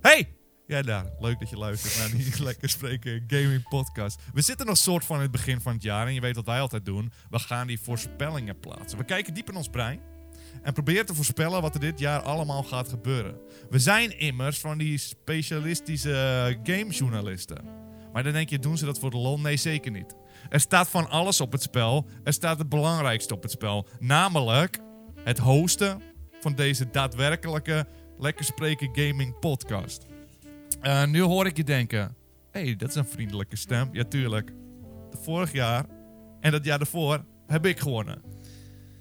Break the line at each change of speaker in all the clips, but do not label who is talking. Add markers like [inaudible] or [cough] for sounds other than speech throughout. Hey! Jij daar, leuk dat je luistert naar die [laughs] Lekker Spreken Gaming Podcast. We zitten nog soort van in het begin van het jaar en je weet wat wij altijd doen. We gaan die voorspellingen plaatsen. We kijken diep in ons brein en proberen te voorspellen wat er dit jaar allemaal gaat gebeuren. We zijn immers van die specialistische eh, gamejournalisten. Maar dan denk je, doen ze dat voor de lol? Nee, zeker niet. Er staat van alles op het spel. Er staat het belangrijkste op het spel. Namelijk het hosten van deze daadwerkelijke Lekker Spreken Gaming podcast. Eh, nu hoor ik je denken, hé, hey, dat is een vriendelijke stem. Ja, tuurlijk. De vorig jaar en dat jaar daarvoor heb ik gewonnen.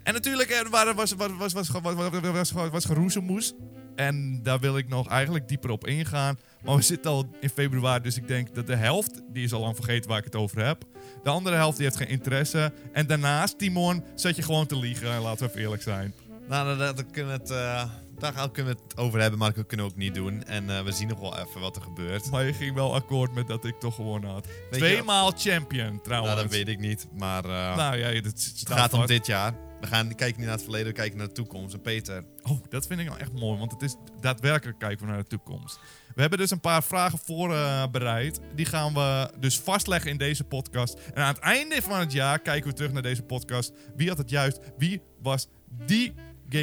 En natuurlijk eh, er waren- was, was, was, was, was, was, was, was, was, was geroezemoes. En daar wil ik nog eigenlijk dieper op ingaan. Maar we zitten al in februari, dus ik denk dat de helft... die is al lang vergeten waar ik het over heb. De andere helft die heeft geen interesse. En daarnaast, Timon, zat je gewoon te liegen. Laten we even eerlijk zijn.
Nou, daar, daar- daar kunnen we het, eh, daar gaan- kunnen we het over hebben, maar dat kunnen we ook niet doen. En eh, we zien nog wel even wat er gebeurt.
Maar je ging wel akkoord met dat ik toch gewonnen had.
je-
Tweemaal champion, trouwens.
Nou, dat weet ik niet, maar eh,
Nou ja, dat s-
het
staat
gaat om
vast.
dit jaar. We gaan we kijken niet naar het verleden, we kijken naar de toekomst. En Peter,
Oh, dat vind ik nou echt mooi, want het is daadwerkelijk kijken we naar de toekomst. We hebben dus een paar vragen voorbereid. die gaan we dus vastleggen in deze podcast. En aan het einde van het jaar kijken we terug naar deze podcast. Wie had het juist? Wie was die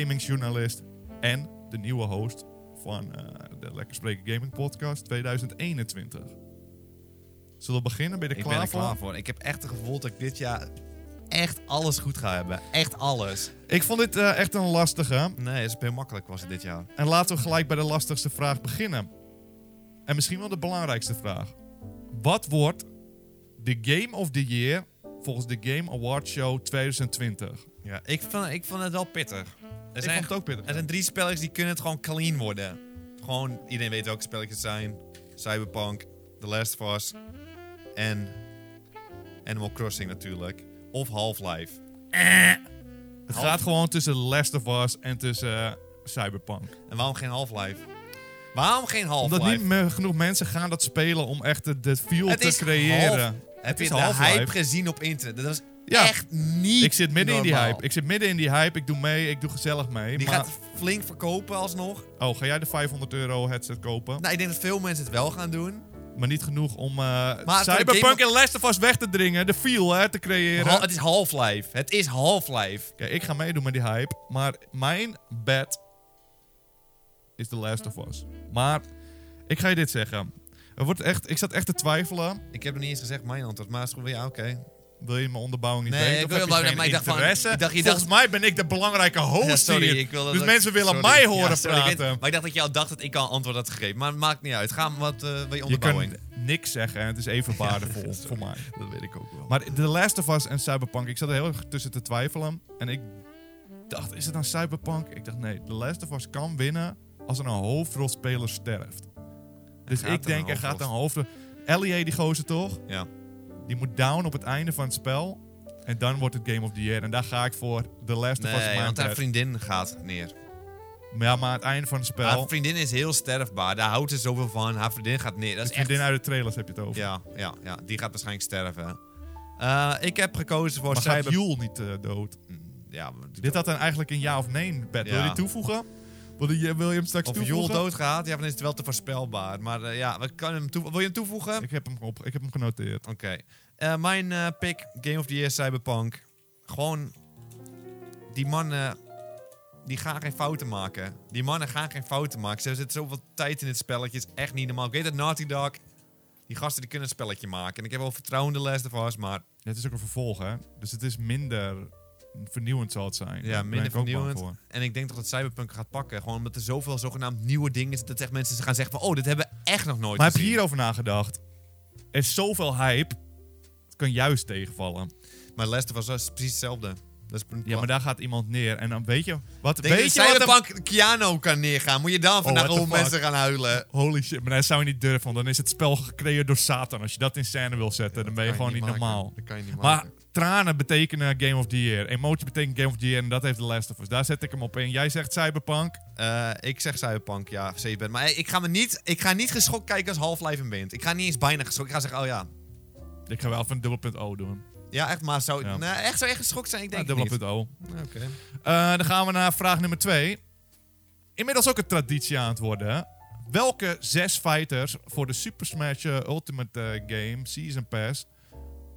gamingjournalist en de nieuwe host van eh, de Lekker Spreken Gaming Podcast 2021? Zullen we beginnen? Ben je er
ik
klaar
ben er
voor?
klaar voor. Ik heb echt het gevoel dat ik dit jaar echt alles goed ga hebben. Echt alles.
Ik vond dit eh, echt een lastige.
Nee, dat is heel makkelijk was het dit jaar.
En laten we gelijk bij de lastigste vraag beginnen. En misschien wel de belangrijkste vraag. Wat wordt de Game of the Year volgens de Game Award Show 2020?
Ja, ik vond, ik vond het wel pittig. Er
Ik
zijn,
vond het ook pittig.
er zijn drie spelletjes die kunnen het gewoon clean worden. Gewoon, iedereen weet welke spelletjes het zijn. Cyberpunk, The Last of Us en Animal Crossing natuurlijk. Of Half-Life.
Het gaat gewoon tussen Last of Us en tussen eh, Cyberpunk.
En waarom geen Half-Life? Waarom geen
Omdat
Half-Life?
niet meer genoeg mensen gaan dat spelen om echt de, de feel
Het
te
is
creëren.
half- Heb
het
je
is
de
Half-Life.
hype gezien op internet? Dat was
Ja.
echt niet
Ik zit midden in die
normaal.
hype. Ik zit midden in die hype. Ik doe mee. Ik doe gezellig mee.
Die
maar...
gaat flink verkopen alsnog.
Oh, ga jij de 500 euro headset kopen?
Nou, ik denk dat veel mensen het wel gaan doen.
Maar niet genoeg om eh,
Maar voor
Cyberpunk
Game
en Last of Us weg te dringen. De feel hè, te creëren.
Hal- Oh, het is Half-Life. Het is Half-Life.
Kijk, ik ga meedoen met die hype. Maar mijn bet is The Last of Us. Maar ik ga je dit zeggen. Er wordt echt, ik zat echt te twijfelen.
Ik heb nog niet eens gezegd mijn antwoord, maar is goed. Ja, oké.
Wil je mijn onderbouwing niet
Nee,
weten?
ik
Of
wil
heb je
wel-
geen
maar ik dacht van-
interesse?
ik dacht- je
Volgens mij ben ik de belangrijke host
Ja, [laughs] sorry,
hier.
ik wilde
dus
dat-
mensen willen
sorry.
mij horen
Ja, sorry, ik weet-
praten.
maar ik dacht dat je al dacht dat ik al een antwoord had gegeven. Maar maakt niet uit. Ga maar wat eh bij je
je
onderbouwing.
kan niks zeggen en het is
[laughs]
even waardevol voor mij.
Dat weet ik ook wel.
Maar The Last of Us en Cyberpunk, ik zat er heel erg tussen te twijfelen. En ik dacht, is het nou Cyberpunk? Ik dacht, nee, The Last of Us kan winnen als er een hoofdrolspeler sterft. Dus
gaat
ik
een
denk, er gaat een hoofdrol... Ellie, die gozer toch?
ja.
Die moet down op het einde van het spel. En dan wordt het Game of the Year. En daar ga ik voor The Last of Us.
Nee,
mijn
want haar
bed.
vriendin gaat neer.
Maar Ja, maar aan het einde van het
Haar
spel...
vriendin is heel sterfbaar. Daar houdt ze zoveel van. Haar vriendin gaat neer. Dat
De
is echt...
vriendin uit de trailers heb je het over.
Ja, ja, ja. Die gaat waarschijnlijk sterven. Eh, ik heb gekozen voor
maar gaat
Cyber...
Joel niet eh, dood?
Ja, maar-
Dit had dan eigenlijk een ja of nee bed. Wil je
Ja.
die toevoegen? Wil je, wil je hem straks
Of Joel
toevoegen?
doodgaat, ja, dan is het wel te voorspelbaar. Maar eh, ja, we kunnen hem toe- wil je hem toevoegen?
Ik heb hem, op, ik heb hem genoteerd.
Oké. Eh, mijn eh, pick, Game of the Year, Cyberpunk. Gewoon, die mannen, die gaan geen fouten maken. Die mannen gaan geen fouten maken. Ze zitten zoveel tijd in dit spelletje, het is echt niet normaal. Ik weet dat Naughty Dog, die gasten die kunnen een spelletje maken. En ik heb wel vertrouwen in The Last of Us, maar
Ja, het is ook een vervolg, hè? Dus het is minder vernieuwend zal het zijn.
ja,
Daar ben
minder
ik ook bang
vernieuwend.
voor.
En ik denk toch dat Cyberpunk gaat pakken. Gewoon omdat er zoveel zogenaamd nieuwe dingen zitten. Dat echt mensen gaan zeggen van, oh, dit hebben we echt nog nooit
Maar heb je
gezien.
hierover nagedacht? Er is zoveel hype. Het kan juist tegenvallen.
Maar Last of Us is precies hetzelfde. Dat is
Ja, maar daar gaat iemand neer. En dan weet je... Wat,
Denk
weet je
je
wat
dat
er-
Cyberpunk Keanu kan neergaan? Moet je dan vandaag
what the
over
fuck?
mensen gaan huilen?
Holy shit, maar dat zou je niet durven. Want dan is het spel gecreëerd door Satan. Als je dat in scène wil zetten, dan ben je gewoon niet, normaal.
Dat kan je niet
Maar tranen betekenen Game of the Year. Emotie betekent Game of the Year. En dat heeft The Last of Us. Daar zet ik hem op in. Jij zegt Cyberpunk.
Eh, ik zeg Cyberpunk, ja, zeker. Maar eh, ik ga, me niet, ik ga niet geschokt kijken als Half-Life een wint. Ik ga niet eens bijna geschokt. Ik ga zeggen, oh ja.
Ik ga wel van dubbel punt O doen.
Ja, echt, maar zou,
Ja. Ah,
nee, echt, zou echt geschokt zijn? Ik
Ja,
denk het
dubbel
niet.
punt O.
Ja, oké.
Eh, dan gaan we naar vraag nummer twee. Inmiddels ook een traditie aan het worden. hè? Welke zes fighters voor de Super Smash eh, Ultimate eh, Game Season Pass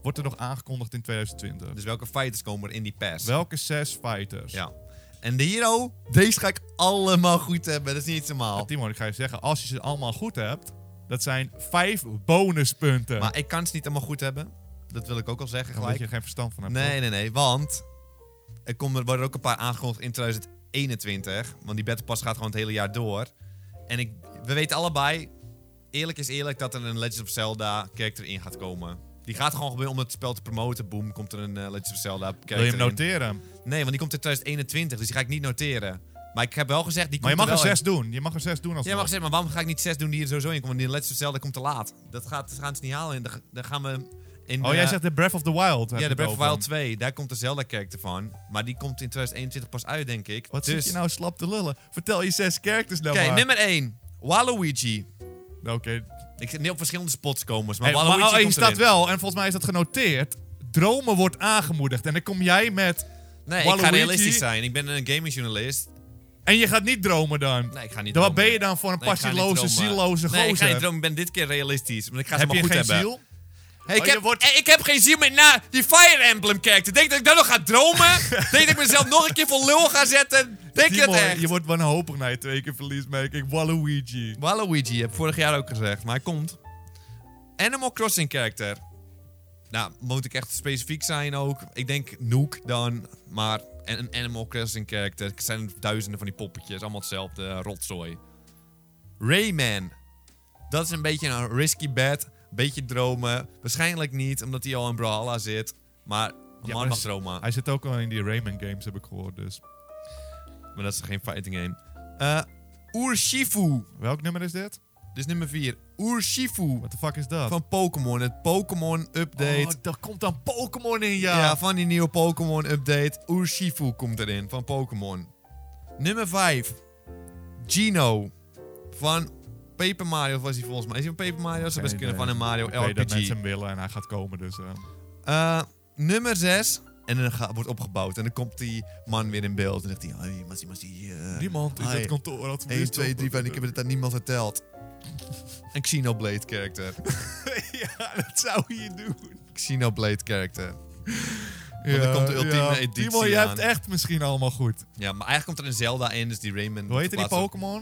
wordt er nog aangekondigd in 2020?
Dus welke fighters komen er in die pass?
Welke zes fighters?
Ja. En de hero, deze ga ik allemaal goed hebben. Dat is niet eens normaal.
Timon, ik ga je zeggen, als je ze allemaal goed hebt, dat zijn vijf bonuspunten.
Maar ik kan ze niet allemaal goed hebben. Dat wil ik ook al zeggen
Omdat
gelijk.
je er geen verstand van hebt.
Nee, nee, nee. Want er komen, worden er ook een paar aangekondigd in 2021. Want die Battle Pass gaat gewoon het hele jaar door. En ik, we weten allebei, eerlijk is eerlijk, dat er een Legend of Zelda character in gaat komen. Die gaat gewoon gebeuren om het spel te promoten. Boom, komt er een eh, Legend of Zelda character
Wil je hem
in.
noteren?
Nee, want die komt in 2021, dus die ga ik niet noteren. Maar ik heb wel gezegd, die
Maar je
komt
mag er
wel in.
zes doen. Je mag er zes doen als
Ja, maar, gezegd, maar waarom ga ik niet 6 doen die er sowieso in komen? Die Legend of Zelda komt te laat. Dat, gaat, dat gaan ze niet halen. En dan- Dan gaan we in
Oh,
eh,
jij zegt de Breath of the Wild. heb
ja,
je
de
het
Breath of the
over.
Wild 2, daar komt de Zelda-character van. Maar die komt in 2021 pas uit, denk ik.
Wat
dus...
zit je nou slap te lullen? Vertel je zes characters nou
Oké,
maar.
nummer 1. Waluigi.
Oké.
Ik zit niet op verschillende spots komen, maar
Hey,
Waluigi
maar oh, je
komt
staat
erin.
wel, en volgens mij is dat genoteerd. Dromen wordt aangemoedigd. En dan kom jij met...
Nee, ik ga
Waluigi.
realistisch zijn. Ik ben een gamingjournalist.
En je gaat niet dromen dan.
Nee, ik ga niet
dan wat
dromen.
ben je dan voor een
Nee, ik ga niet
passieloze,
dromen.
zieloze
Nee, ik ga
gozer?
niet dromen. Ik ben dit keer realistisch. Want ik ga ze
heb
maar
je
goed
geen
hebben.
ziel?
Hey, ik,
Oh, je
heb,
wordt-
hey, ik heb geen zin meer na die Fire Emblem character. Denk dat ik daar nog ga
[laughs]
dromen? Denk dat ik mezelf nog een keer voor lul ga zetten? Denk je
Timor,
het echt?
je wordt wanhopig na je twee keer verliesmaking. Waluigi.
Waluigi, heb ik vorig jaar ook gezegd, maar hij komt. Animal Crossing character. Nou, moet ik echt specifiek zijn ook. Ik denk Nook dan, maar en een Animal Crossing character. Er zijn duizenden van die poppetjes, allemaal hetzelfde, eh, rotzooi. Rayman. Dat is een beetje een risky bet, beetje dromen. Waarschijnlijk niet, omdat hij al in Brawlhalla zit. Maar een man
maar
mag
s-
dromen.
Hij zit ook al in die Rayman games, heb ik gehoord. Dus.
Maar dat is geen fighting game. Eh Urshifu.
Welk nummer is dit?
Dit is nummer 4. Urshifu.
What the fuck is dat?
van Pokémon. Het Pokémon update.
Oh, daar komt dan Pokémon in,
ja.
ja.
van die nieuwe Pokémon update. Urshifu komt erin van Pokémon. Nummer 5. Gino. Van Paper Mario was hij volgens mij. Is hij van Paper Mario? Zou best
Geen
kunnen van
idee.
een Mario
Ik weet dat mensen
RPG.
hem willen en hij gaat komen, dus... eh.
Eh, nummer 6. En dan ga- wordt opgebouwd. En dan komt die man weer in beeld. En dan zegt hij... Hey, Massie, Massie. eh,
Niemand in
hi.
het kantoor had
1, 2, 3, 5. Ik heb het aan niemand verteld. Een Xenoblade character.
[laughs] ja, dat zou je doen.
Xenoblade character.
Ja,
dan Oh, komt de ultieme editie
Timo, je
aan.
hebt echt misschien allemaal goed.
Ja, maar eigenlijk komt er een Zelda in, dus die Rayman.
Hoe heet die
verplaatst
Pokémon?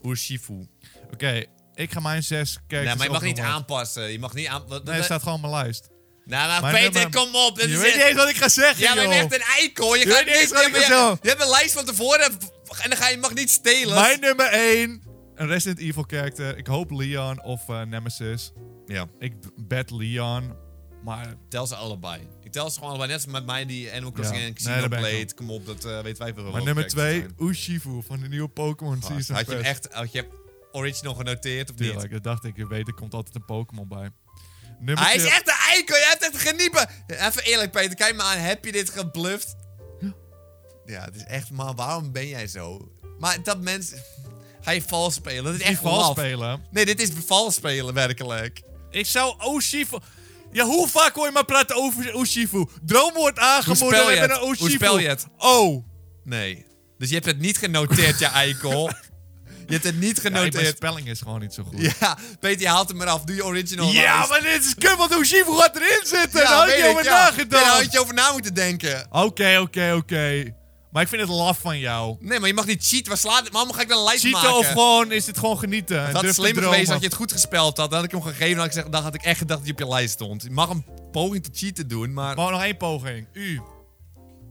ook. Urshifu.
Oké, ik ga mijn zes kijken.
nee, maar je mag niet aanpassen. Je mag niet aan. wat-
Nee,
wat-
het staat gewoon op mijn lijst.
Nou, maar
Maar
Peter,
nummer-
kom op. Dat
je
is
weet
het.
niet eens wat ik ga zeggen,
ja, maar je
joh.
bent een eikel. Je,
Je
gaat
weet niet
niet.
eens wat
Je,
ik
hebt-
vertel.
je hebt een lijst van tevoren en en dan ga je je mag niet stelen.
Mijn nummer 1. Een Resident Evil character. Ik hoop Leon of eh, Nemesis.
Ja,
Ik bed Leon. Maar
tel ze allebei. Ik tel ze gewoon allebei. Net als met mij die Animal Crossing
Ja.
en
Nee, daar ben ik
Xenoblade. kom op, dat eh weten wij veel.
maar
wel
nummer
kijkers
2,
zijn.
Uchifu van de nieuwe Pokémon
Ah,
Season
Had je hem
Pass.
echt... Had je hem original genoteerd of niet?
Tuurlijk, dat dacht ik. Je weet, er komt altijd een Pokémon bij. Nummer
Ah, Hij is
twee-
echt een eikel. Je hebt echt geniepen. Even eerlijk, Peter. Kijk me aan. Heb je dit gebluft? Ja, het is echt... Maar waarom ben jij zo? Maar dat mensen... Ga je vals spelen? Dat is echt
die vals
laf.
spelen.
Nee, dit is vals spelen, werkelijk.
Ik zou Uchifu... Ja, hoe vaak hoor je maar praten over Uchifu? Droom wordt aangemoedigd.
spel je
we hebben
het?
een Uchifu.
Hoe spel je het?
Oh.
Nee. Dus je hebt het niet genoteerd, je
[laughs]
eikel. Je hebt het niet
Ja, mijn
genoteerd.
spelling is gewoon niet zo goed. nou
Ja, Peter, je haalt hem eraf. Doe je original.
Ja,
lijst.
maar dit is kut, want Uchifu gaat erin zitten. Daar had
weet
je over
ik, ja. Ja, Daar
nagedacht.
had je over na moeten denken.
Oké, oké, oké. Maar ik vind het laf van jou.
Nee, maar je mag niet cheaten. Waar slaat het? Waarom ga ik dan een lijst
Cheaten
maken?
of gewoon is dit gewoon genieten.
Het
en
had
durf te
slimmer
dromen.
geweest als je het goed gespeld had. Dan had ik hem gegeven en had ik gezegd, dan had ik echt gedacht dat je op je lijst stond. Je mag een poging tot cheaten doen, maar...
Maar nog één poging. U.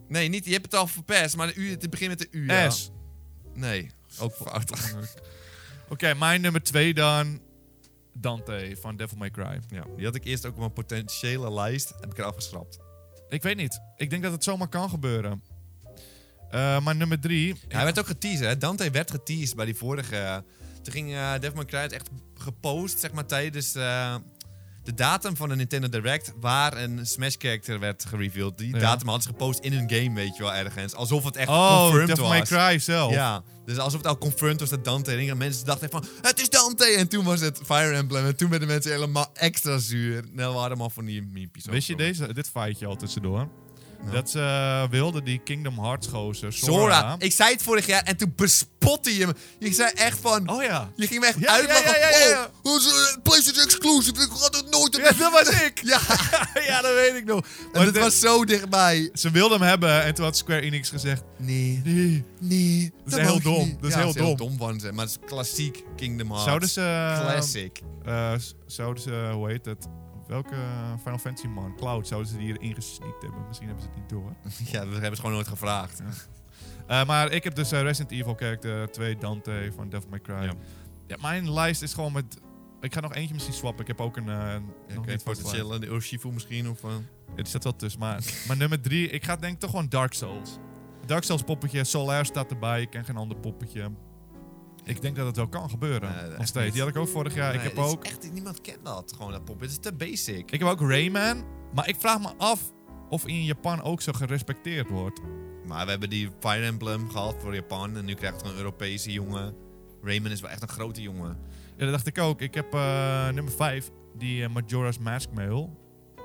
Nee, niet, je hebt het al verpest, maar de U, het begint met de U, ja.
S.
Nee, ook fout.
Oké, mijn nummer twee dan. Dante van Devil May Cry.
Ja, die had ik eerst ook op mijn potentiële lijst, heb ik eraf geschrapt.
Ik weet niet. Ik denk dat het zomaar kan gebeuren. Eh, maar nummer drie.
Ja, hij werd ook geteased, hè. Dante werd geteased bij die vorige... Toen ging eh Devil May Cry het echt gepost, zeg maar, tijdens... eh, de datum van de Nintendo Direct waar een Smash-character werd gereveeld. Die
Ja.
datum hadden ze gepost in hun game, weet je wel, ergens. Alsof het echt
Oh,
confirmed
Devil
was.
May Cry zelf.
Ja, dus alsof het al confirmed was dat Dante erin ging. Mensen dachten van, het is Dante! En toen was het Fire Emblem. En toen werden mensen helemaal extra zuur. Nou, we hadden allemaal van die miepjes.
Wist je
over.
deze, dit feitje al tussendoor?
Ja.
Dat eh, wilde die Kingdom Hearts gozer, Sora.
Zora, ik zei het vorig jaar en toen bespotte je me. Je zei echt van...
Oh ja.
Je ging me echt
Ja,
uitlachen.
ja, ja, ja, ja.
Oh, hoe is, eh, PlayStation Exclusive, ik had het nooit...
Ja, dat was
[laughs]
ik.
Ja,
ja, dat weet ik nog.
en
[laughs] Maar
het
de-
was zo dichtbij.
Ze wilde hem hebben en toen had Square Enix gezegd...
Nee,
Nee.
nee. Dat,
heel
mag je
dom,
niet.
dat is
Ja,
heel
heel dom van ze. Maar het is klassiek Kingdom Hearts.
Zouden ze... eh,
Classic. [laughs]
eh, s- zouden ze, hoe heet het? Welke Final Fantasy man? Cloud. Zouden ze die erin gesneakt hebben? Misschien hebben ze het niet
[laughs]
door.
Ja, dat hebben ze gewoon nooit gevraagd.
Eh, maar ik heb dus eh, Resident Evil character 2 Dante van Devil May Cry.
Ja.
Ja, mijn lijst is gewoon met... Ik ga nog eentje misschien swappen. Ik heb ook een... eh
Ja,
nog
Oké,
niet
voor te
vastgelegd.
chillen. De Urshifu misschien of... eh,
Het staat wel tussen. Maar, maar nummer drie, ik ga denk ik toch gewoon Dark Souls. Dark Souls poppetje, Solaire staat erbij, ik ken geen ander poppetje. Ik denk dat het wel kan gebeuren.
Nee, echt
nog steeds.
niet.
Die had ik ook vorig jaar.
nee,
ik heb
het is
ook.
Echt, niemand kent dat. Gewoon dat pop. Het is te basic.
Ik heb ook Rayman. Maar ik vraag me af of in Japan ook zo gerespecteerd wordt.
Maar we hebben die Fire Emblem gehad voor Japan. En nu krijgt het een Europese jongen. Rayman is wel echt een grote jongen.
Ja, dat dacht ik ook. Ik heb eh, nummer vijf, die eh, Majora's Mask Mail.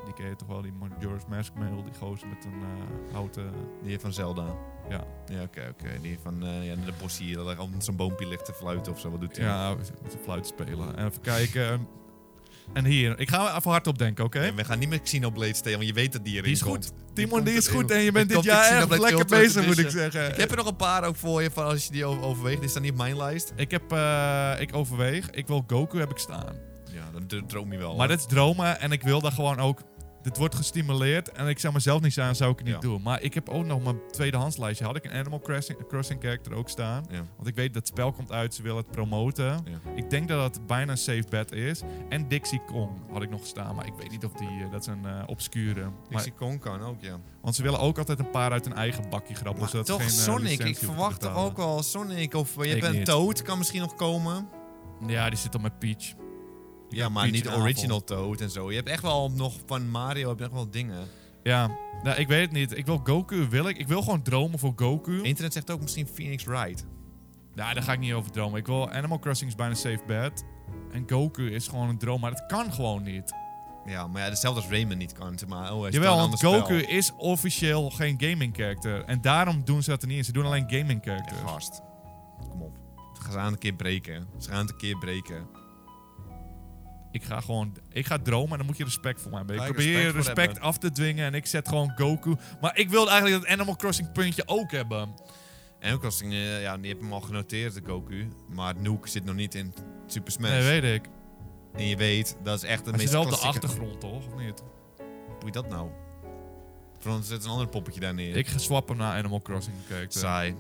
Die ken je toch wel, die Majora's Mask Mail. Die gozer met een eh, houten...
Die van Zelda.
Ja.
Ja, oké, oké. Die van eh, ja, de bos hier. Dat er om zo'n boompje ligt te fluiten of zo. Wat doet hij?
Ja, met een fluit spelen. En even kijken. en hier, ik ga er even hard op denken, oké?
Ja, we gaan niet met Xenoblade stelen, want je weet dat die erin
Die is
komt.
goed. Timon,
komt
die is
erin.
goed en je bent dit
Die komt
jaar
in
echt
Xenoblade
lekker
Ultimate
bezig, moet ik
Edition.
zeggen.
Ik heb er nog een paar ook voor je, van als je die over- overweegt. Die staan niet op mijn lijst.
Ik heb, eh, ik overweeg, ik wil Goku heb ik staan.
Ja, dan d- droom je wel.
Maar
hoor.
dat is dromen en ik wil daar gewoon ook, dit wordt gestimuleerd en ik zou mezelf niet zijn, zou ik het niet
Ja.
doen. Maar ik heb ook nog mijn tweedehands lijstje, had ik een Animal Crossing, Crossing character ook staan.
Ja.
Want ik weet dat het spel komt uit, ze willen het promoten.
Ja.
Ik denk dat dat bijna een safe bet is. En Dixie Kong had ik nog staan, maar ik weet niet of die, eh, dat is een eh, obscure. Maar,
Dixie Kong kan ook, ja.
want ze willen ook altijd een paar uit hun eigen bakje grappen.
Maar
zodat ze
toch
geen, eh,
Sonic,
licentie
ik
hoeven te
verwacht toch
betalen.
ook al Sonic. Of eh, je
Ik
hebt een
niet.
Toad, kan misschien nog komen.
Ja, die zit al met Peach.
Ja, maar
Peach
niet
en Apple.
original Toad en zo. Je hebt echt wel nog van Mario, heb je echt wel dingen.
Ja, nou, ik weet het niet. Ik wil Goku, wil ik. Ik wil gewoon dromen voor Goku.
Internet zegt ook misschien Phoenix Wright.
Nou, daar ga ik niet over dromen. Ik wil Animal Crossing is bijna safe bed. En Goku is gewoon een droom, maar dat kan gewoon niet.
Ja, maar ja, hetzelfde als Rayman niet kan. zeg Maar, oh, hij is
Jawel,
wel een
want
ander
Goku is officieel geen gaming character. En daarom doen ze dat er niet in. Ze doen alleen gaming
spel.
characters.
Ja, gast. Kom op. Dus. Ze gaan het een keer breken. Ze gaan het een keer breken.
Ik ga gewoon, ik ga dromen en dan moet je respect voor mij hebben. Ik
Ja, ik
probeer
respect
respect,
voor
respect af te dwingen en ik zet gewoon Goku. Maar ik wilde eigenlijk dat Animal Crossing puntje ook hebben.
En ook als eh, ja, die heb hem al genoteerd, de Goku. Maar Nook zit nog niet in Super Smash.
Nee, weet ik.
en je weet, dat is echt de
Maar ze
meest
is wel op de
klassieke-
achtergrond, toch? Of niet?
Hoe moet dat nou? Frans, zet een ander poppetje daar neer.
Ik ga swappen naar Animal Crossing character.
Saai.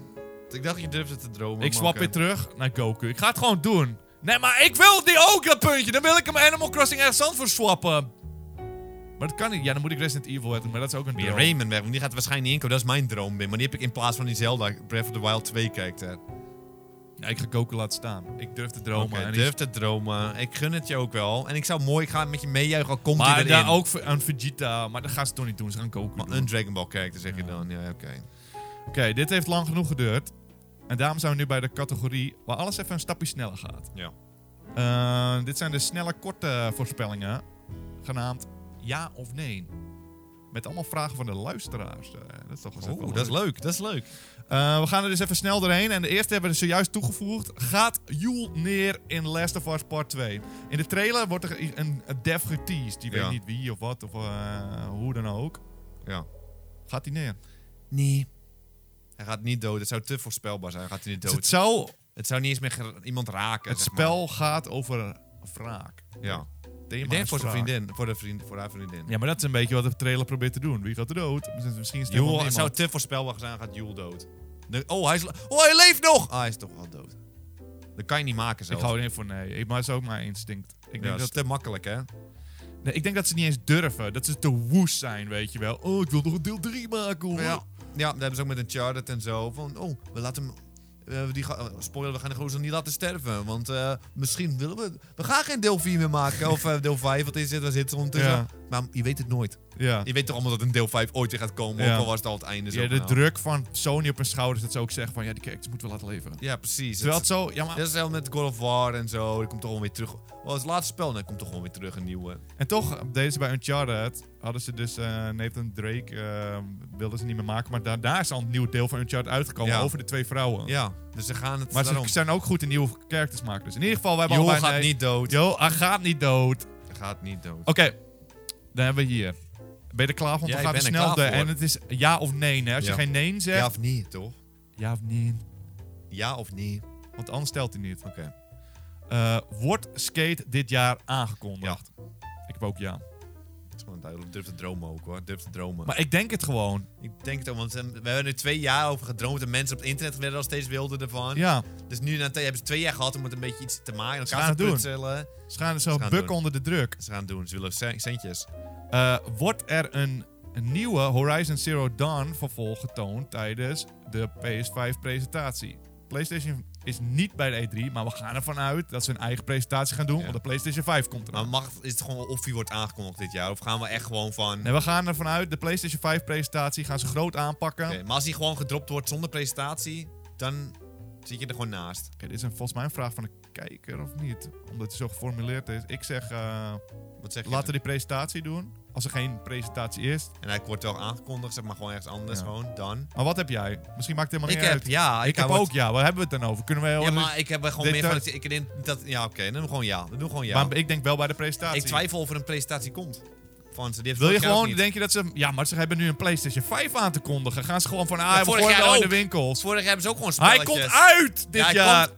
Ik dacht je durfde te
Ik
dromen. maar
swap
oké.
weer terug naar Goku. Ik ga het gewoon doen. Nee, maar ik wil die ook, dat puntje. Dan wil ik hem Animal Crossing ergens anders voor swappen. Maar dat kan niet. Ja, dan moet ik Resident Evil hebben, maar dat is ook een
Weer
droom.
Rayman weg, want die gaat er waarschijnlijk niet inkomen. Dat is mijn droom, Wim. Maar die heb ik in plaats van die Zelda Breath of the Wild 2 character.
Ja, ik ga Goku laten staan. Ik durf te dromen.
Oké,
en die-
durf te dromen. Ik gun het je ook wel. En ik zou mooi, ik ga met je meejuichen al komt hij
Maar
erin.
daar ook voor- aan Vegeta. Maar dat gaan ze toch niet doen. Ze gaan Goku
Maar
doen.
een Dragon Ball character zeg je
Ja.
dan. Ja, oké.
Oké, dit heeft lang genoeg geduurd. En daarom zijn we nu bij de categorie waar alles even een stapje sneller gaat.
Ja.
Eh, dit zijn de snelle, korte voorspellingen. Genaamd ja of nee. Met allemaal vragen van de luisteraars. Eh, dat is toch wel eens even
Oeh,
leuk.
Oh, dat is leuk. Dat is leuk.
Eh, we gaan er dus even snel doorheen. En de eerste hebben we er zojuist toegevoegd. Gaat Joel neer in Last of Us Part 2? In de trailer wordt er i- een, een dev geteased. Die
Ja.
weet niet wie of wat of eh, hoe dan ook.
Ja.
Gaat hij neer?
Nee. Hij gaat niet dood. Het zou te voorspelbaar zijn. Hij gaat hij niet
Dus
dood.
het zou,
het, zou niet eens meer ger- iemand raken.
het
zeg maar.
spel gaat over wraak.
Ja.
Thema
Ik denk
is
voor zijn
wraak.
vriendin. Voor, de vriend, voor haar vriendin.
Ja, maar dat is een beetje wat de trailer probeert te doen. Wie gaat er dood? Misschien is het
Joel,
helemaal
het zou
niemand.
te voorspelbaar zijn, gaat Joel dood. De- oh, hij is, oh, hij leeft nog! Ah, hij is toch wel dood. Dat kan je niet maken
Ik
zelf.
hou erin voor nee. Ik- Maar dat is ook mijn instinct. Ik
Ja,
denk,
dat is
dat,
te makkelijk, hè?
nee, ik denk dat ze niet eens durven. Dat ze te woest zijn, weet je wel. Oh, ik wil nog een deel 3 maken, hoor.
Ja. ja, dat hebben ze ook met Uncharted en zo. Van, oh, we laten hem eh, die ga- eh, spoiler, we gaan de gozer niet laten sterven. Want eh, misschien willen we... We gaan geen deel 4 meer maken. Of eh, deel 5, wat is dit? Waar zit ze ondertussen?
Ja.
Maar je weet het nooit.
Ja.
Je weet toch allemaal dat een deel 5 ooit weer gaat komen?
Ja.
Ook al was het al het einde. zo
Ja, de
van, nou.
druk van Sony op hun schouders dat ze ook zeggen van ja, die characters moeten we laten leven.
Ja, precies.
Terwijl
Het-
het zo, ja maar,
Dat is hetzelfde met God of War en zo. Die komt toch gewoon weer terug. Oh, het laatste spel, dan komt toch gewoon weer terug een nieuwe.
en toch deden ze bij Uncharted, hadden ze dus eh, Nathan Drake, eh, wilden ze niet meer maken, maar daarna is al een nieuw deel van Uncharted uitgekomen
Ja.
over de twee vrouwen.
Ja, dus ze gaan het
Oh. Maar
daarom.
ze zijn ook goed in nieuwe characters maken. Dus in ieder geval, we hebben
Joel
allebei...
gaat
nee,
niet dood.
Joel, hij gaat niet dood. Oké,
Hij gaat niet
Oh,
dood.
dan hebben we hier. Ben je er klaar voor?
Ja,
Dan
ik
gaan we
ben er
snel
klaar
door.
voor.
En het is ja of nee. Hè? Als
Ja.
je geen nee zegt,
Ja
ja,
of nee, toch?
of nee.
Ja of nee?
Want anders stelt hij niet.
Oké.
Eh, wordt Skate dit jaar aangekondigd? Ik heb ook ja.
Het is gewoon duidelijk. Durf te dromen ook hoor. Durf te dromen.
Maar ik denk het gewoon.
ik denk het ook, want ze- we hebben er twee jaar over gedroomd. En mensen op het internet werden al steeds wilder ervan.
Ja,
Dus nu na twee, hebben ze twee jaar gehad om het een beetje iets te maken.
Ze
Elkaar
gaan
te
het doen.
putselen.
ze gaan zo
Ze gaan
buk
door.
onder de druk.
Ze gaan het doen. Ze willen cent- centjes.
Eh, wordt er een, een nieuwe Horizon Zero Dawn vervolg getoond tijdens de PS5 presentatie? PlayStation is niet bij de E3, maar we gaan ervan uit dat ze een eigen presentatie gaan doen,
Ja.
want de PlayStation 5 komt eraan.
Maar mag, is het gewoon of die wordt aangekondigd dit jaar? Of gaan we echt gewoon van...
Nee, we gaan ervan uit, de PlayStation 5 presentatie gaan ze groot aanpakken.
Oké, maar als die gewoon gedropt wordt zonder presentatie, dan zit je er gewoon naast.
Oké, dit is een, volgens mij een vraag van de kijker of niet, omdat hij zo geformuleerd is. Ik zeg, eh,
Wat zeg je?
laten we die presentatie doen, als er geen presentatie is.
En hij wordt wel aangekondigd, zeg maar gewoon ergens anders.
Ja.
Gewoon dan.
Maar wat heb jij? Misschien maakt het helemaal
Ik
niet uit.
heb, ja,
ik heb
hou
ook ja, waar hebben we het dan over? Kunnen we heel
Ja, maar ik heb er gewoon
Dit
meer van.
dat-
Ik denk dat. Ja, oké, dan doen we gewoon ja. We doen gewoon ja.
Maar ik denk wel bij de presentatie.
ik twijfel of er een presentatie komt. Van ze. Die heeft
Wil je
vorig jaar ook
gewoon,
niet.
denk je dat ze... Ja, maar ze hebben nu een PlayStation 5 aan te kondigen. Gaan ze gewoon van, ah, we
vorig
gooien
jaar
wel in de
ook.
winkels.
Vorig jaar hebben ze ook gewoon
Hij
spelletjes.
komt uit dit
Ja, hij
jaar.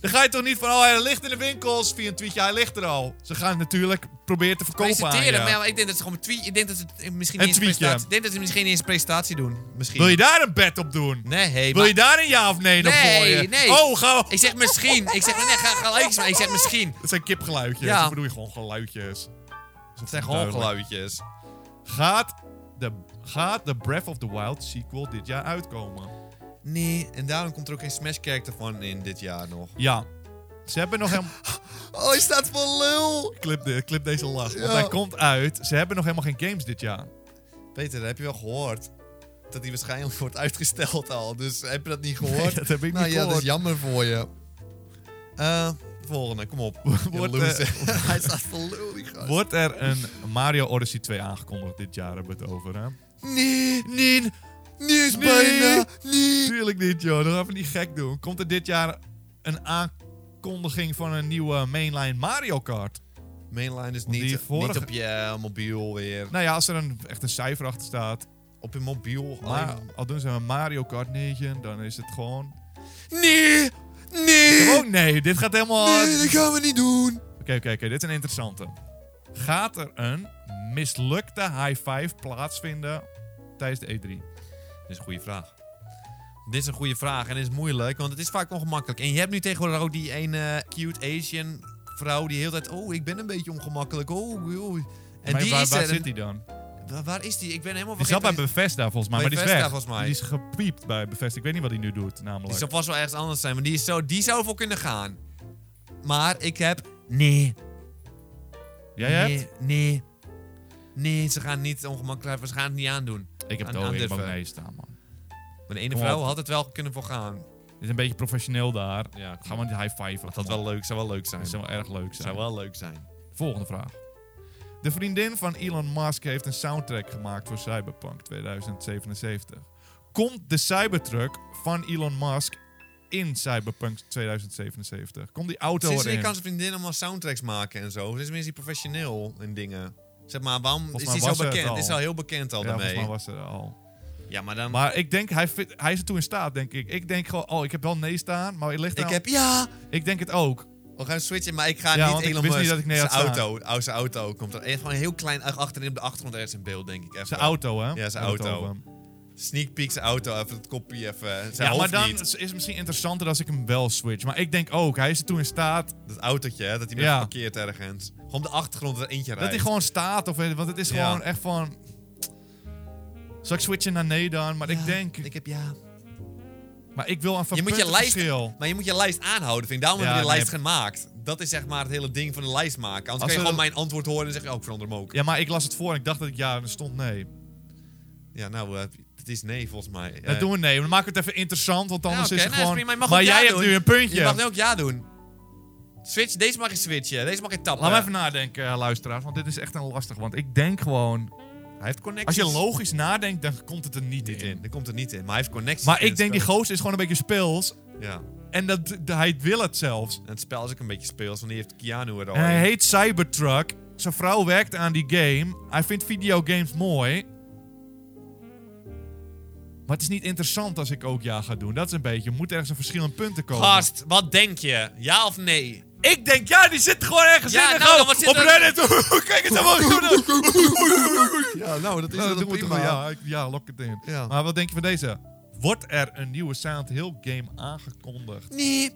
Dan ga je toch niet van, oh, hij ligt in de winkels via een tweetje. Hij ligt er al. Ze gaan het natuurlijk proberen te verkopen aan je.
Presenteren, maar, ja, maar ik denk dat ze gewoon een tweet. Ik denk dat ze het misschien
Een
niet
tweetje.
eens presentatie- Ik denk dat ze misschien niet eens een presentatie doen. Misschien.
Wil je daar een bet op doen?
Nee, hey,
Wil
maar-
je daar een ja of nee, op
Nee,
gooien?
nee.
Oh, ga...
Ik zeg misschien. Ik zeg nee, ga, ga luidjes maar. Ik zeg misschien.
Dat zijn kipgeluidjes.
Ja.
Dat bedoel je gewoon geluidjes.
Het zijn
gewoon
gewoon geluidjes.
Gaat de, gaat de Breath of the Wild sequel dit jaar uitkomen?
Nee, en daarom komt er ook geen Smash character van in dit jaar nog.
Ja. Ze hebben nog
[laughs]
helemaal...
Oh, hij staat voor lul.
clip, de, clip deze lach, want
Ja.
hij komt uit. Ze hebben nog helemaal geen games dit jaar.
Peter, heb je wel gehoord dat hij waarschijnlijk [laughs] wordt uitgesteld al? Dus heb je dat niet gehoord?
Nee, dat heb ik
nou,
niet
ja, dat
gehoord.
is jammer voor je. Eh, volgende, kom
[laughs]
op. Je
Wordt,
loser. [laughs] hij staat voor lul, die gast.
Wordt er een Mario Odyssey 2 aangekondigd dit jaar? Hebben we het over, hè?
Nee,
Nee,
nee is
Nee.
bijna, nee.
natuurlijk niet, joh. Dan gaan we niet gek doen. Komt er dit jaar een aankondiging van een nieuwe mainline Mario Kart?
Mainline is
Want die
niet, niet
vorige-
op je eh, mobiel weer.
Nou ja, als er een, echt een cijfer achter staat.
Op je mobiel. Ah.
Maar,
alleen-
al doen ze een Mario Kart 9, dan is het gewoon...
Nee, nee,
Oh nee, dit gaat helemaal...
nee, dat gaan we niet doen.
Oké, oké, oké. Dit is een interessante. Gaat er een mislukte high five plaatsvinden tijdens de E E3?
Dit is een goede vraag. Dit is een goede vraag en dit is moeilijk, want het is vaak ongemakkelijk. En je hebt nu tegenwoordig ook die ene eh, cute Asian vrouw die heel tijd... Oh, ik ben een beetje ongemakkelijk. Oh, joh. En
maar
die
waar,
is
waar
er.
zit die dan?
Waar, waar is die? Ik ben helemaal
Die zat bij
vergeten.
Bethesda volgens mij,
Bij
maar die is weg.
Bethesda volgens mij.
Die is gepiept bij Bethesda. Ik weet niet wat hij nu doet, namelijk.
Die zou vast wel ergens anders zijn, maar die, is zo, die zou ervoor kunnen gaan. Maar ik heb... Nee.
Jij
nee,
hebt?
Nee. Nee, ze gaan niet ongemakkelijk blijven. Ze gaan het niet aandoen.
Ik heb het
Aan-
al in
aandurven.
mijn staan, man.
Maar de ene
Kom
vrouw
op.
had het wel kunnen voor gaan.
Dit is een beetje professioneel daar.
Ja, kom
Gaan we niet high five.
Dat had wel leuk, zou wel leuk zijn.
Dat zou wel erg leuk zijn.
Zou wel leuk zijn.
Volgende vraag. De vriendin van Elon Musk heeft een soundtrack gemaakt voor Cyberpunk 2077. Komt de Cybertruck van Elon Musk in Cyberpunk 2077? Komt die auto erin?
Sinds wanneer kan zijn vriendin allemaal soundtracks maken en zo? Sinds wanneer is hij professioneel in dingen? Zeg maar, waarom
Volgens
is
mij
hij
was
zo
het
bekend?
al.
Is al heel bekend al
ja, volgens
daarmee.
mij was er al.
Ja, maar dan...
Maar ik denk, hij, vindt- hij is er toe in staat, denk ik. Ik denk gewoon, oh, ik heb wel nee staan, maar het ligt
ik
eraan-
heb... Ja!
ik denk het ook.
We gaan switchen, maar ik ga
Ja, want
niet
ik
Elon
wist
Musk.
niet dat ik nee had
zijn
staan.
auto, oh, zijn auto komt er. Echt Gewoon heel klein achterin op de achtergrond ergens in beeld, denk ik. Even.
Zijn auto, hè?
Ja, zijn
Hebben we het
auto.
over.
Sneak peek zijn auto, even het kopje even. Zijn
Ja, maar
hoofd
dan
niet.
is het misschien interessanter als ik hem wel switch. Maar ik denk ook, hij is er toe in staat
Dat autootje, hè, dat hij
Ja.
nog parkeert ergens. Gewoon op de achtergrond er eentje
Dat
rijdt.
hij gewoon staat, of, want het is
Ja.
gewoon echt van... Zal ik switchen naar nee dan? Maar ik denk,
Ik heb ja.
Maar ik wil aan van
Je moet je
punten
lijst-
verschil.
Maar je moet je lijst aanhouden, vind ik. Daarom
Ja,
hebben we die
nee.
lijst gemaakt. Dat is zeg maar het hele ding van een lijst maken.
Als
Anders kan je
we-
gewoon mijn antwoord horen en zeg je, oh, ik verander hem ook. Ja,
Ja, maar ik las het voor en ik dacht dat ik ja en er stond nee.
nou, eh, het is nee volgens mij. Eh,
Dat doen we nee. maar Dan maken we het even interessant, want
ja,
anders
oké,
is
nee,
het
is
gewoon...
prima. Je mag
maar
ook ja
jij
doen.
hebt nu een puntje.
Je mag nu ook ja doen. Switch, deze mag je switchen. Deze mag je tappen.
Laat me even nadenken, eh, luisteraars, want dit is echt een lastig. Want ik denk gewoon...
Hij heeft connecties.
Als je logisch nadenkt, dan komt het er niet
Niet in.
in.
Dan komt het niet in. Maar hij heeft connecties.
Maar
in
ik
het
denk, die
spel.
gozer is gewoon een beetje speels.
Ja.
En dat, d- hij wil het zelfs.
En het spel is ook een beetje speels, want die heeft Keanu er al.
En hij
in.
heet Cybertruck. Zijn vrouw werkt aan die game. Hij vindt videogames mooi. Maar het is niet interessant als ik ook ja ga doen. Dat is een beetje. Er moet ergens een verschil in punten komen.
Gast, wat denk je? Ja of nee?
Ik denk, ja, die zit gewoon ergens
Ja,
in. de
nou,
gang.
dan wat zit
op
er-
Reddit. [laughs] Kijk eens allemaal goed.
Ja, nou, dat
Nou, dat doen we toch wel. Ja, ik- ja, lok het in.
Ja.
Maar wat denk je van deze? Wordt er een nieuwe Silent Hill game aangekondigd?
Nee,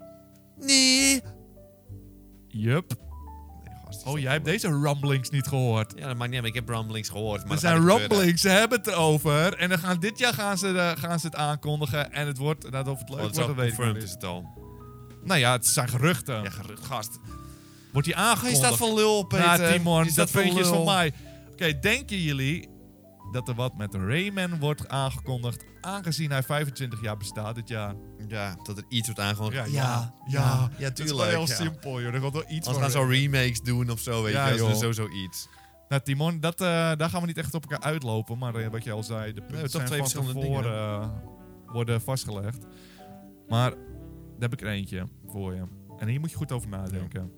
nee.
Yup. Oh, jij hebt deze rumblings niet gehoord.
Ja, dat maakt niet uit, maar ik heb rumblings gehoord. Maar
Er
dat
zijn
gaat niet gebeuren.
rumblings, ze hebben het erover. En dan gaan, dit jaar gaan ze, eh, gaan ze het aankondigen. En het wordt, nou, of het leuk
Oh, het
wordt,
is al
dat weet ik nog
confirmed, is
niet.
het al.
Nou ja, het zijn geruchten.
Ja, gerucht, gast.
Wordt die
Je
aangekondigd?
staat van lul, Peter.
Nou, Timon,
Je
dat,
staat voor
puntje is
lul.
van mij. Oké, denken jullie dat er wat met Rayman wordt aangekondigd... aangezien hij 25 jaar bestaat dit jaar?
Ja, dat er iets wordt aangekondigd. ja,
Het is wel
tuurlijk.
heel
ja.
simpel, joh. Er komt wel iets
Anders
van
gaan ze al remakes doen of zo, weet
Ja,
je. Dat
joh.
is sowieso iets.
Nou, Timon, dat, eh, daar gaan we niet echt op elkaar uitlopen. Maar eh, wat je al zei, de punten
toch
zijn
twee
van
verschillende
tevoren eh, worden vastgelegd. Maar daar heb ik er eentje voor je. En hier moet je goed over nadenken.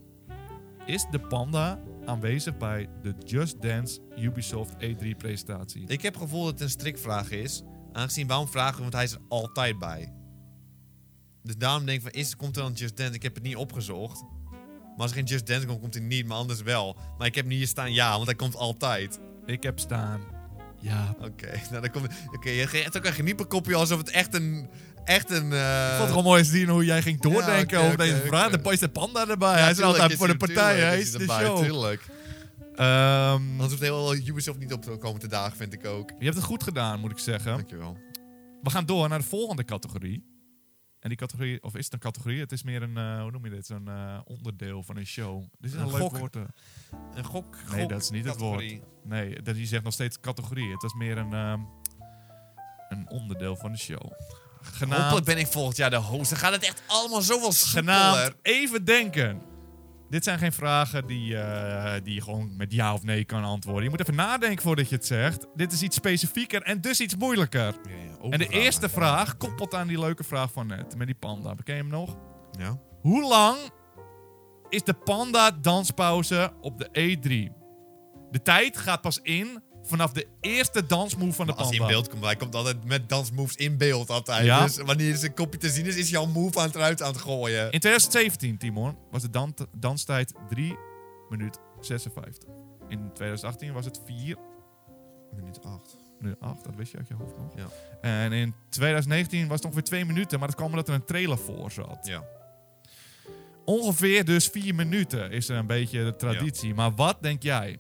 Is de panda aanwezig bij de Just Dance Ubisoft E E3-presentatie?
Ik heb het gevoel dat het een strikvraag is. Aangezien waarom vragen we, want hij is er altijd bij. Dus daarom denk ik van, is, komt er dan Just Dance? Ik heb het niet opgezocht. Maar als er geen Just Dance komt, komt hij niet, maar anders wel. Maar ik heb nu hier staan ja, want hij komt altijd.
Ik heb staan. Ja.
Oké, [laughs] nou dan komt... Oké, je geeft ook een geniepenkopje alsof het echt een... Echt een... eh,
Ik vond het gewoon mooi te zien hoe jij ging doordenken
Ja, oké,
over deze
oké,
vraag.
oké.
Dan past de panda erbij.
ja,
hij is
tuurlijk
altijd voor de
hij-
partij.
tuurlijk
Hij
is
is de
erbij,
show.
Tuurlijk.
Ehm,
Anders hoeft heel Ubisoft niet op te komen te dagen, vind ik ook.
je hebt het goed gedaan, moet ik zeggen.
Dankjewel.
We gaan door naar de volgende categorie. En die categorie, of is het een categorie? Het is meer een, eh, hoe noem je dit? Een eh, onderdeel van een show. Dit is een,
Een
leuk
gok.
woord. eh.
Een gok,
Nee,
gok
dat is niet het woord.
categorie.
Nee, dat, je zegt nog steeds categorie. Het is meer een, ehm, een onderdeel van de show.
Hopelijk
Genaamd,
ben ik volgend jaar de host. Dan gaat het echt allemaal zoveel
genaamd
sneller.
even denken. Dit zijn geen vragen die, eh, die je gewoon met ja of nee kan antwoorden. Je moet even nadenken voordat je het zegt. Dit is iets specifieker en dus iets moeilijker. En de eerste vraag koppelt aan die leuke vraag van net. Met die panda. Beken je hem nog?
Ja.
Hoe lang is de panda danspauze op de E3? De tijd gaat pas in vanaf de eerste dansmove van de
Als hij
panda.
in beeld komt, hij komt altijd met dansmoves in beeld. Altijd.
Ja.
Dus wanneer zijn kopje te zien is, is hij al move aan het eruit aan het gooien.
In 2017, Timon, was de dan danstijd 3 minuut 56. In 2018 was het 4
Minuut 8.
minuut 8, dat wist je uit je hoofd nog.
Ja.
En in 2019 was het ongeveer 2 minuten, maar dat kwam omdat er een trailer voor zat.
Ja.
Ongeveer dus 4 minuten is er een beetje de traditie. Maar wat denk jij?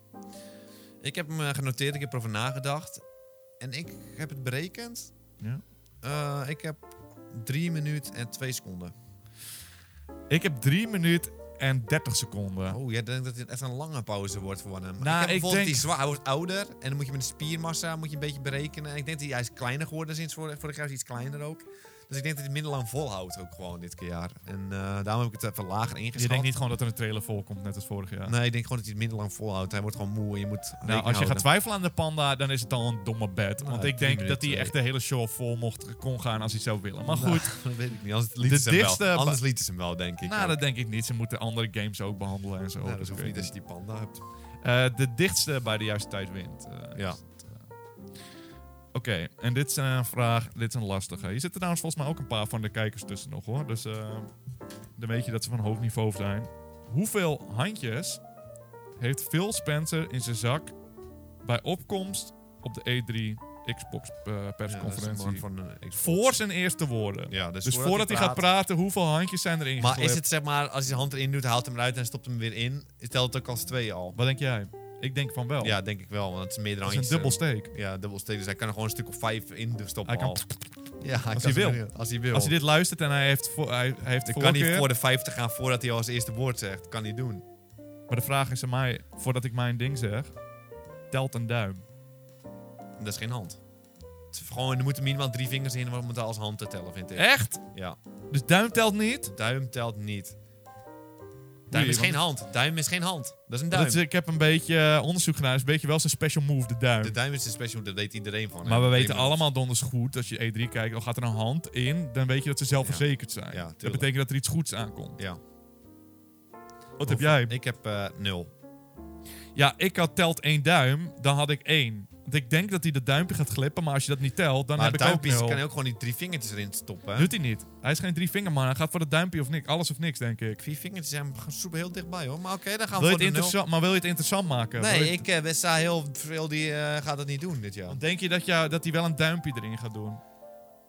Ik heb hem eh, genoteerd, ik heb erover nagedacht. En ik heb het berekend.
Ja.
Eh, ik heb 3 minuten en 2 seconden.
Ik heb 3 minuten en 30 seconden.
Oh, jij denkt dat dit echt een lange pauze wordt voor hem.
Nou,
ik heb
ik
bijvoorbeeld
denk-
die zwaar, hij wordt ouder. En dan moet je met de spiermassa moet je een beetje berekenen. En ik denk dat hij, hij is kleiner geworden sinds vorig, vorig jaar. Is hij iets kleiner ook. Dus ik denk dat hij het minder lang volhoudt ook gewoon dit keer jaar. En eh, daarom heb ik het even lager ingeschat.
Je denkt niet gewoon dat er een trailer voor komt, net als vorig jaar.
Nee, ik denk gewoon dat hij het minder lang volhoudt. Hij wordt gewoon moe en je moet
Nou,
rekening
als je gaat
houden.
twijfelen aan de panda, dan is het al een domme bed.
Nou,
Want ik
drie
denk dat
minuten.
hij echt de hele show vol mocht kon gaan als hij zou willen. Maar
Nou,
goed,
[laughs] dat weet ik niet. Anders lieten
De
ze hem
dichtste
wel.
ba-
Anders lieten ze hem wel, denk ik.
nou,
ook.
dat denk ik niet. Ze moeten andere games ook behandelen en zo.
Nou,
Dus
dat hoeft
ik
niet
weet
als je die panda hebt.
niet. Eh, de dichtste bij de juiste tijd wint. Eh,
Ja.
is het, eh. Oké, en dit is een vraag, dit is een lastige. Hier zitten trouwens volgens mij ook een paar van de kijkers tussen nog hoor. Dus eh, dan weet je dat ze van hoog niveau zijn. Hoeveel handjes heeft Phil Spencer in zijn zak bij opkomst op de E3 Xbox eh,
Ja, dat
persconferentie?
is gewoon van een Xbox.
voor zijn eerste woorden.
Ja, dus,
Dus voordat hij gaat
praten.
praten, hoeveel handjes zijn erin
Maar
gegooid?
is het zeg maar, als hij zijn hand erin doet, haalt hem eruit en stopt hem weer in? Telt het ook als twee al?
Wat denk jij? Ik denk van wel.
Ja, denk ik wel, want het is eh, meerdere
dat is een
handjes.
dubbelsteek.
Ja, dubbelsteek. Dus hij kan er gewoon een stuk of vijf in de stoppen
Hij kan
al. Ja, ik
hij
kan
wil.
zeggen, Als hij wil.
Als hij dit luistert en hij heeft, vo- hij heeft
dan kan hij
voorkeur-
voor de 50 gaan voordat hij al zijn eerste woord zegt. Kan hij doen.
Maar de vraag is aan mij, voordat ik mijn ding zeg, telt een duim.
Dat is geen hand. Het is gewoon, er moeten minimaal drie vingers in om het als hand te tellen, vind ik.
Echt?
Ja.
Dus duim telt niet?
Duim telt niet. Duim is
want-
geen hand. Duim is geen hand. Dat is een
Dat
duim.
is, ik heb een beetje eh, onderzoek gedaan. Het is een beetje wel zijn special move, de duim.
De duim is een special, dat weet iedereen van. hè?
maar we
Iedereen
weten
met-
allemaal donders goed, als je E3 kijkt, dan gaat er een hand in, dan weet je dat ze zelfverzekerd zijn.
Ja,
dat
tuurlijk.
betekent dat er iets goeds aankomt.
Ja.
Wat heb jij?
Ik heb eh, nul.
Ja, ik had telt één duim, dan had ik één. Want ik denk dat hij dat duimpje gaat glippen, maar als je dat niet telt, dan
maar
heb ik ook
duimpjes
nul.
kan je ook gewoon die drie vingertjes erin stoppen. hè?
Doet hij niet. Hij is geen drie vingerman. Hij gaat voor dat duimpje of niks. Alles of niks, denk ik.
Vier vingertjes zijn super heel dichtbij hoor. Maar oké, dan gaan we
Wil je
voor
het
de nul.
interessant, maar wil je het interessant maken? Wil je-
Nee, ik eh, we staan heel veel die eh, gaat dat niet doen dit jaar.
Want denk je dat, jou, dat hij wel een duimpje erin gaat doen?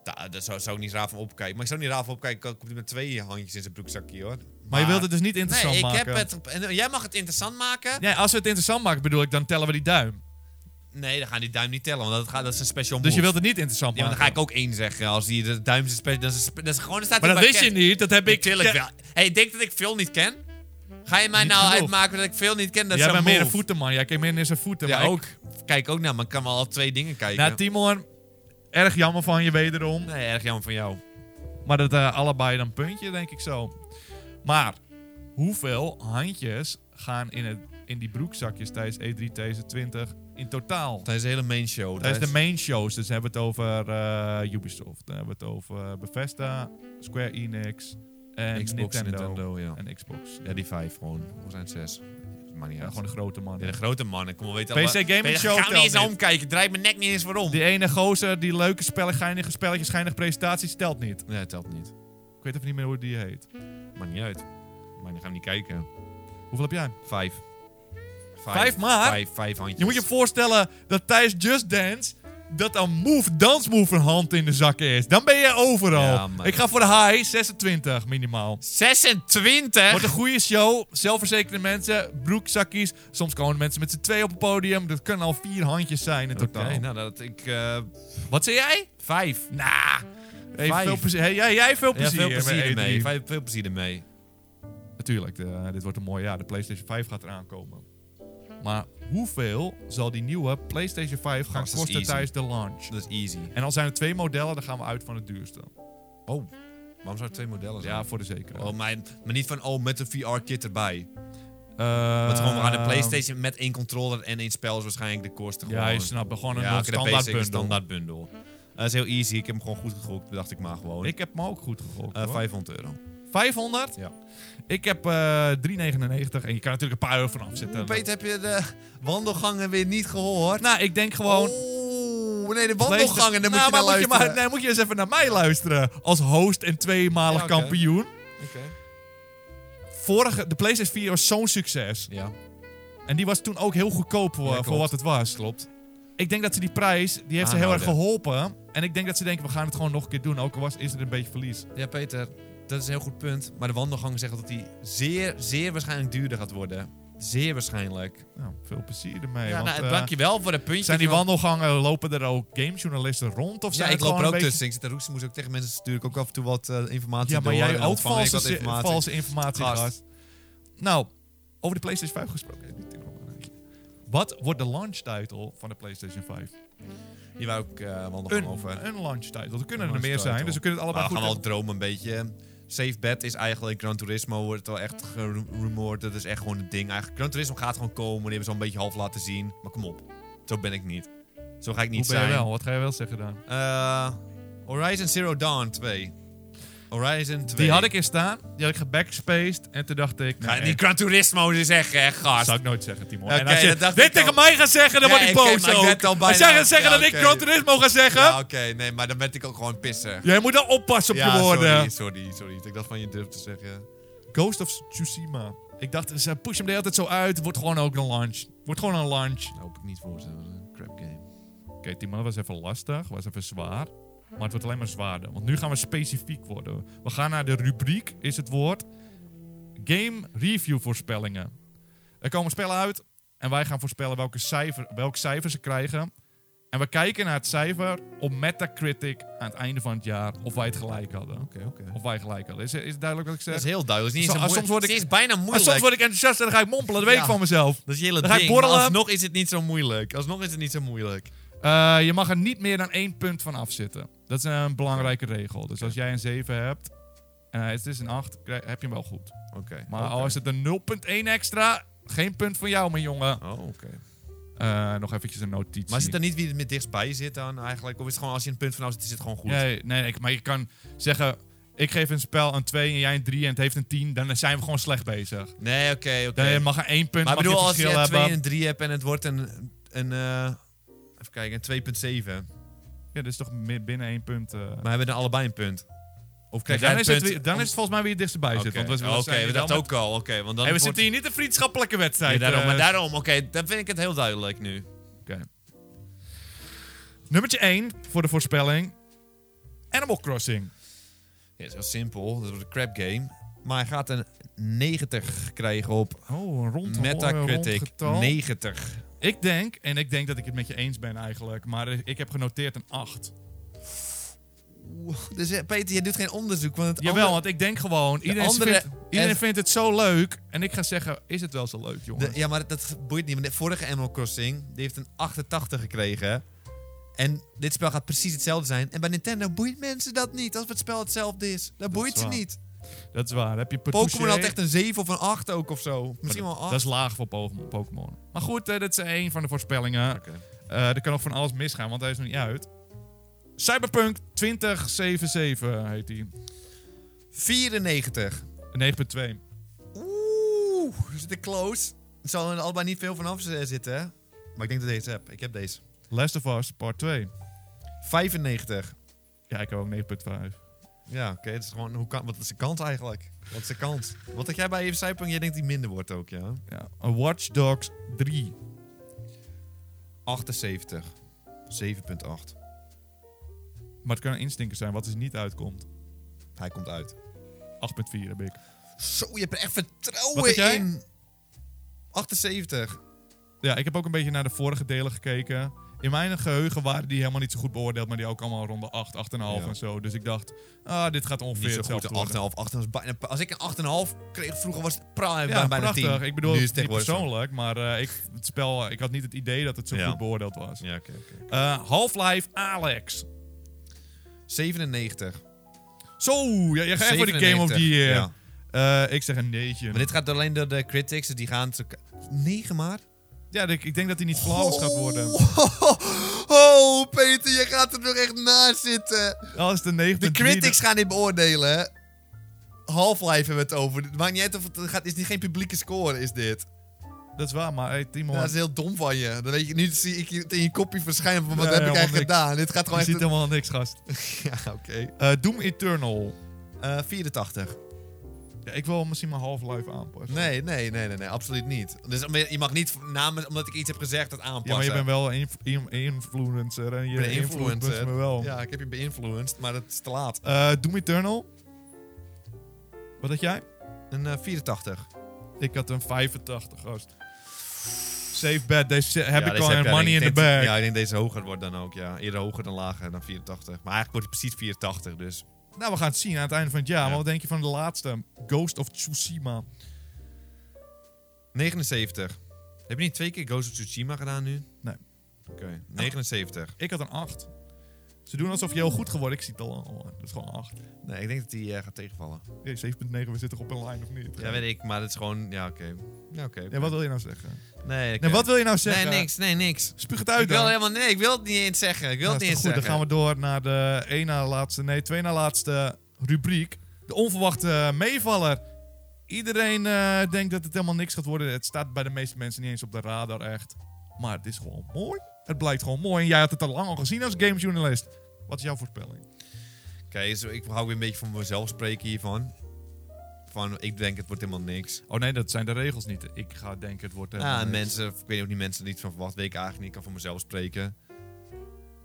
Da, daar zou, zou ik niet raar van opkijken. Maar ik zou niet raar van opkijken. Ik kom met twee handjes in zijn broekzakje hoor. Maar,
Maar je wilt het dus niet
Nee,
interessant
ik
maken.
heb het. en eh, Jij mag het interessant maken.
Nee, als we het interessant maken, bedoel ik, dan tellen we die duim.
Nee, dan gaan die duim niet tellen, want dat, gaat, dat is een special
Dus je
move.
wilt het niet interessant
Ja, maar
maken.
dan ga ik ook één zeggen. Als die de duim zijn special... Dat is, een spe- dat is gewoon... Staat
Maar
in
dat
het
wist je
pakket.
niet. Dat heb ik. Ja,
Natuurlijk wel. Hey, denk dat ik veel niet ken? Ga je mij
Niet
nou
genoeg.
uitmaken dat ik veel niet ken? Dat
Jij
is
bent
een
meer
move.
een voetenman. Jij kijkt meer naar zijn voeten.
Ja,
maar ik-
ook. Kijk ook naar, maar ik kan wel al twee dingen kijken.
Nou, Timon, erg jammer van je wederom.
nee, erg jammer van jou.
Maar dat eh, allebei dan puntje, denk ik zo. Maar hoeveel handjes gaan in, het, in die broekzakjes tijdens E3 2020 in totaal?
Tijdens de hele main show.
Tijdens de main shows. Dus dan hebben we het over eh, Ubisoft. Dan hebben we het over eh, Bethesda, Square Enix en
Xbox,
Nintendo.
Nintendo, ja.
En Xbox.
Ja, die vijf gewoon. Of zijn het zes? Maar niet
Ja,
uit.
gewoon de grote man.
Ja, de grote mannen. Kom, we weten
PC Gaming
Weet je,
Show
Ga me
telt
niet eens
niet.
omkijken. Draai mijn nek niet eens waarom.
Die ene gozer, die leuke spellen, geinige spelletjes, geinige presentaties, telt niet.
Nee, het telt niet.
Ik weet even niet meer hoe die heet.
Maakt niet uit. Maar dan gaan we niet kijken.
Hoeveel heb jij?
Vijf.
Vijf maar?
Vijf, vijf handjes.
Je moet je voorstellen dat tijdens Just Dance dat een move, dansmove een hand in de zak is. Dan ben je overal.
Ja, maar-
Ik ga voor de high, 26 minimaal.
26?
Wordt een goede show. Zelfverzekerde mensen, broekzakjes. Soms komen mensen met z'n twee op het podium. Dat kunnen al vier handjes zijn in
Oké,
totaal.
nou dat ik... eh,
Wat zei jij?
vijf.
Nah. Hey,
Vijf.
veel plezier. Hey, jij, jij veel
Ja,
plezier.
veel plezier eh,
met E3.
ermee. Vijf- Veel plezier ermee.
Natuurlijk, de- dit wordt een mooi jaar. De PlayStation 5 gaat eraan komen. Maar hoeveel zal die nieuwe PlayStation 5 gaan
Gast, dat is
kosten
easy.
tijdens de launch?
Dat is easy.
En al zijn er twee modellen, dan gaan we uit van het duurste.
Oh, waarom zou er twee modellen zijn?
Ja, voor de zekerheid.
Oh, maar, maar niet van, oh, met een VR-kit erbij.
Eh,
Want gewoon, we gaan de PlayStation met één controller en één spel is waarschijnlijk de kosten.
Ja, je snapt. Gewoon een
Ja, oké, de
standaard
basic, een
bundel.
standaard bundel. Dat is heel easy. Ik heb hem gewoon goed gegokt, dacht ik maar gewoon.
Ik heb me ook goed gegokt.
Eh,
hoor.
500 euro.
500?
Ja.
Ik heb eh 3,99 en je kan natuurlijk een paar euro van afzetten.
Peter, heb je de wandelgangen weer niet gehoord?
Nou, ik denk gewoon...
Oeh, nee, de
Playsta-
Oh, wandelgangen, dan moet
Nou,
je naar
maar moet
luisteren.
maar, nee, moet je eens even naar mij luisteren. Als host en tweemalig
Ja, oké.
kampioen.
Oké.
Vorige, de PlayStation 4 was zo'n succes.
Ja,
En die was toen ook heel goedkoop voor,
Ja, klopt.
voor wat het was.
klopt. Ah, nou,
Ik denk dat ze die prijs, die heeft ze heel erg
Aanhouden.
geholpen. En ik denk dat ze denken, we gaan het gewoon nog een keer doen. Ook al was, is er een beetje verlies.
Ja, Peter, dat is een heel goed punt. Maar de wandelgangen zeggen dat die zeer, zeer waarschijnlijk duurder gaat worden. Zeer waarschijnlijk.
Nou, veel plezier ermee.
ja,
want,
nou,
eh,
dankjewel voor dat puntje.
zijn die
van-
wandelgangen, lopen er ook gamejournalisten rond? Of zijn
Ja,
het
ik loop
gewoon
er ook
een beetje-
tussen. Ik zit daar roesten, moest ook tegen mensen stuur ik ook af en toe wat eh, informatie
Ja, maar
door
jij
en
ook
ontvang ik
valse,
wat
zi-
informatie.
valse informatie
Gast.
gehad. Nou, over de PlayStation 5 gesproken. Wat wordt de launch title van de PlayStation 5?
Hier wou ik eh wandelgangen
Een,
over. Maar
een launch title. Er
Een
kunnen er
launch
meer zijn,
title.
dus we kunnen het
we
allebei
gaan
goed
wel dromen een beetje. Safe bet is eigenlijk Gran Turismo wordt wel echt gerumoord. Dat is echt gewoon het ding. Eigenlijk, Gran Turismo gaat gewoon komen. Die hebben ze al een beetje half laten zien. Maar kom op, zo ben ik niet. Zo ga ik niet
Hoe ben
zijn.
je wel? Wat ga je wel zeggen dan?
Eh, Horizon Zero Dawn 2. Horizon 2.
Die had ik in staan, die had ik gebackspaced en toen dacht ik...
Ga
nee,
niet Gran Turismo dus zeggen, hè,
dat
gast. Nou,
zou ik nooit zeggen, Timon.
Oké,
en als je
dat dacht
dit
ik al.
tegen mij gaat zeggen, dan
Ja,
word ik
oké,
boos
maar ik
ook.
werd al
Als jij
bijna-
gaat zeggen
Ja,
dat ik
oké.
Gran Turismo ga zeggen,
Ja, oké. Nee, maar dan werd ik ook gewoon pissen.
jij moet dan oppassen op je woorden.
sorry, sorry, sorry. Dat Ik dat van je durf te zeggen.
Ghost of Tsushima. Ik dacht, ze pushen hem de hele tijd zo uit. Wordt gewoon ook een launch. Wordt gewoon een launch. Oké,
Dat Nou, hoop ik niet voor. Dat was een crap game.
Timon, dat was even lastig. was even zwaar. Maar het wordt alleen maar zwaarder. Want nu gaan we specifiek worden. We gaan naar de rubriek, is het woord. Game review voorspellingen. Er komen spellen uit. En wij gaan voorspellen welke cijfer, welk cijfer ze krijgen. En we kijken naar het cijfer op Metacritic aan het einde van het jaar of wij het gelijk hadden.
Oké, oké.
Of wij gelijk hadden. Is, is het duidelijk wat ik zeg?
Dat is heel duidelijk. Het is,
Zo-
niet eens zo
ah, soms
moe-
word ik-
het is bijna
Maar
moeilijk.
soms word ik enthousiast en dan ga ik mompelen. Dat weet
Ja.
ik van mezelf.
Dat is je hele
Dan ga ik
ding. Maar
borrelen.
alsnog is het niet zo moeilijk. Alsnog is het niet zo moeilijk.
Eh, je mag er niet meer dan één punt van afzitten. Dat is een belangrijke regel. Dus als jij een 7 hebt en hij- het is een 8, krij- heb je hem wel goed.
Oké.
Maar al is het een 0.1 extra, geen punt van jou, mijn jongen.
Oh, oké.
Eh, nog eventjes een notitie.
Maar zit er niet wie het met dichtstbij zit dan eigenlijk? Of is het gewoon als je een punt vanaf zit, is het gewoon goed?
Nee, nee ik, maar je kan zeggen... Ik geef een spel een 2 en jij een 3 en het heeft een 10. Dan zijn we gewoon slecht bezig.
Nee, oké, oké.
Dan mag er één punt
Maar ik
mag
bedoel,
je
als je
verschil
een 2 en
hebben.
een 3 hebt en het wordt een... een eh, even kijken, een 2,7.
Ja, dat is toch mi- binnen één punt. eh.
Maar hebben dan allebei een punt? Of krijg jij
dan,
een
is
punt?
het, weer- dan is het volgens mij wie het dichtstbij
Oké,
zit. Want we, we
oké,
zijn hier
dat
wel met-
ook al. Oké, want
Hey,
dan
we
wordt-
zitten hier niet een vriendschappelijke
Ja,
wedstrijd.
daarom,
eh.
maar daarom. Oké, dan vind ik het heel duidelijk nu.
Oké. Nummertje 1 voor de voorspelling. Animal Crossing.
Ja, is heel simpel. Dat wordt een crap game. Maar hij gaat een 90 krijgen op
Oh, een rond eh,
Metacritic. 90.
Ik denk, en ik denk dat ik het met je eens ben eigenlijk, maar ik heb genoteerd een 8.
Dus eh, Peter, je doet geen onderzoek. Want het
Jawel,
andere-
want ik denk gewoon, iedereen,
andere-
vindt, iedereen
en-
vindt het zo leuk. En ik ga zeggen, is het wel zo leuk, jongen?
de- ja, maar dat boeit niet. Want de vorige Animal Crossing, die heeft een 88 gekregen. En dit spel gaat precies hetzelfde zijn. En bij Nintendo boeit mensen dat niet. Als het spel hetzelfde is. Dat, boeit
is
ze
waar.
niet.
Dat is waar. Heb je Petouche?
Pokémon had echt een oh. 7 of een 8 ook of zo.
Maar
Misschien wel een
dat,
8.
dat is laag voor Pokémon- Pokémon. Maar goed, eh, dat is één van de voorspellingen.
Oké.
Eh, er kan nog van alles misgaan, want hij is nog niet uit. Cyberpunk 2077 heet hij.
94.
9.2.
Oeh, we zitten close. Het zal er allebei niet veel vanaf z- zitten, hè? Maar ik denk dat ik deze heb. Ik heb deze.
Last of Us Part 2.
95.
Ja, ik heb ook 9.5.
Ja, oké. dat is gewoon... Hoe kan, wat is de kans eigenlijk? Wat is de kans? Wat had jij bij even Cyberpunk? Jij denkt die minder wordt ook, ja?
Ja. Watch Dogs 3.
78. 7.8.
Maar het kan een instinker zijn wat dus niet uitkomt. 8.4
Hij komt uit.
heb ik.
Zo, je hebt er echt vertrouwen
Wat had jij?
in. 78.
Ja, ik heb ook een beetje naar de vorige delen gekeken. In mijn geheugen waren die helemaal niet zo goed beoordeeld, maar die ook allemaal rond de 8, 8,5
Ja.
en zo. Dus ik dacht, ah, dit gaat ongeveer
Niet zo goed,
hetzelfde
een 8,5.
worden.
8,5 is bijna... Als ik een 8,5 kreeg vroeger was het pra-
Ja,
bijna 10.
prachtig. Ik bedoel,
Nu is
het
het
niet
tegenwoordig zo.
persoonlijk, maar eh, ik, het spel, eh, ik had niet het idee dat het zo
Ja.
goed beoordeeld was.
Ja, oké, oké.
Eh, Half-Life Alex.
97.
Zo, ja, jij gaat echt voor die Game of the
97,
Year.
ja.
Eh, ik zeg een neetje.
Maar dit gaat alleen door de critics, dus die gaan... het ook- 9 maar?
Ja, ik, ik denk dat hij niet flawless gaat worden.
Oh, [laughs] oh, Peter, je gaat er nog echt naast zitten.
Als de 90.
De critics gaan dit beoordelen. hè? Half-Life hebben we het over. Het maakt niet uit of het het gaat. Is niet geen publieke score, is dit?
Dat is waar, maar hey, Timon.
Dat is heel dom van je. Dan weet je, nu zie ik het in je kopje verschijnen van
Ja,
wat heb ik
helemaal
eigenlijk
niks.
gedaan. Dit gaat gewoon
je
echt...
ziet helemaal niks, gast.
[laughs] Ja, oké.
Eh, Doom Eternal.
Eh, 84.
Ja, ik wil misschien mijn Half-Life aanpassen.
Nee, nee, nee, nee, nee, absoluut niet. Dus om- je mag niet namens, omdat ik iets heb gezegd, dat aanpassen.
Ja, maar je bent wel een in- influencer en je
Ik ben een
influenced me wel.
Ja, ik heb je beïnvloed, maar dat is te laat.
Eh, Doom Eternal. Wat had jij?
Een eh, 84.
Ik had een 85, gast. Safe bet. Deze heb
Ja,
ik
deze
al
heb
en
jij,
money in
denk
the
ik. Ik denk-
bag.
Ja, ik denk deze hoger wordt dan ook, ja. Eerder hoger dan lager dan 84. Maar eigenlijk wordt het precies 84, dus...
Nou, we gaan het zien aan het einde van het jaar.
Ja.
Maar wat denk je van de laatste? Ghost of Tsushima.
79. Heb je niet twee keer Ghost of Tsushima gedaan nu?
Nee.
Oké, 79.
Ik had een 8. Ze doen alsof je heel goed geworden. Ik zie het al. Oh, dat is gewoon een 8.
Nee, ik denk dat die eh, gaat tegenvallen.
Nee, 7.9, we zitten toch op een lijn of niet?
Ja, weet ik, maar dat is gewoon... Ja, oké. Ja, oké.
Ja, wat wil je nou zeggen?
Nee, oké.
Nee, wat wil je nou
eh, Nee,
zeggen?
niks, nee, niks.
Spuug het
Ik
uit
wil
dan.
helemaal... Nee, ik wil het niet eens zeggen. Ik wil
Nou,
het
is
niet
toch
eens
goed, dan
zeggen.
gaan we door naar de 1 na laatste, nee, 2 na laatste rubriek. De onverwachte meevaller. Iedereen eh, denkt dat het helemaal niks gaat worden. Het staat bij de meeste mensen niet eens op de radar echt. Maar het is gewoon mooi. Het blijkt gewoon mooi. En jij had het al lang al gezien als gamejournalist. Wat is jouw voorspelling?
Oké, zo ik hou weer een beetje van mezelf spreken hiervan. Van, ik denk het wordt helemaal niks.
Oh nee, dat zijn de regels niet. Ik ga denken, het wordt
Ja, en Ah, mensen, ik weet ook niet mensen er iets van verwacht. Weet ik eigenlijk niet, ik kan voor mezelf spreken.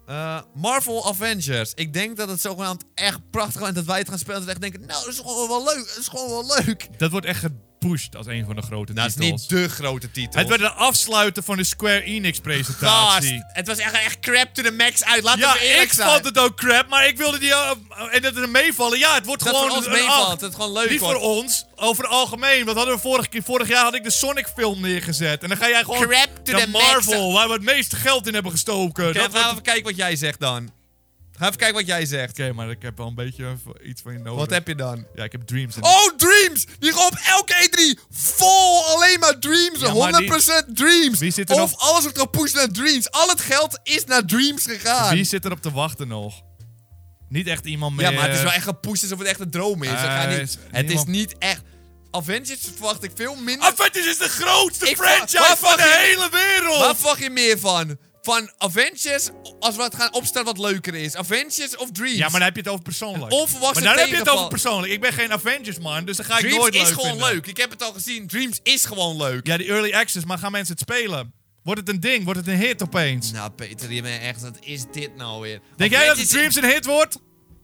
Eh, Marvel Avengers. Ik denk dat het zogenaamd echt prachtig is en dat wij het gaan spelen. Dat we echt denken, nou, dat is gewoon wel leuk. Dat is gewoon wel leuk.
Dat wordt echt gepusht als een van de grote
Nou, het is
titels.
niet de grote titel.
Het werd de afsluiter van de Square Enix-presentatie.
Gast, Het was echt, echt crap to the max uit. Laten
Ja,
we eerlijk
ik
zijn.
vond het ook crap, maar ik wilde die... eh, en dat er meevallen, ja, het wordt
dat
gewoon
voor ons
een
meevalt.
acht.
Dat het gewoon leuk
Niet
was.
voor ons, over het algemeen. Want hadden we vorig, keer- vorig jaar had ik de Sonic-film neergezet. En dan ga jij gewoon
Crap to
de
the max.
Marvel, waar we het meeste geld in hebben gestoken.
Oké,
dat
laten we
wordt...
even kijken wat jij zegt dan. Ga even kijken wat jij zegt.
Oké, maar ik heb wel een beetje v- iets van je nodig.
Wat heb je dan?
Ja, ik heb Dreams. En...
Oh, Dreams! Die gewoon op elke E3 vol alleen maar Dreams.
Ja, maar
100% Dreams.
Wie zit er
of
nog-
alles wordt gepusht naar Dreams. Al het geld is naar Dreams gegaan.
Wie zit er op te wachten nog? Niet echt iemand meer...
Ja, maar het is wel echt gepusht alsof het echt een droom is. Ze gaan
Eh,
niet-
is-
het is
niemand-
niet echt... Avengers verwacht ik veel minder...
Avengers is de grootste
Ik vra-
franchise
waar
van
vra-
de hele wereld!
Waar verwacht je meer van? Van Avengers, als we het gaan opstellen wat leuker is. Avengers of Dreams?
Ja, maar dan heb je het over persoonlijk.
Onverwachte
maar dan heb je het
tegenval.
over persoonlijk. Ik ben geen Avengers man, dus dan ga ik
Dreams
nooit
is
leuk
gewoon
vinden.
leuk. Ik heb het al gezien. Dreams is gewoon leuk.
Ja, die early access, maar gaan mensen het spelen? Wordt het een ding? Wordt het een hit opeens?
Nou, Peter, je bent echt... Wat is dit nou weer?
Denk jij dat
Avengers-
Dreams een hit wordt?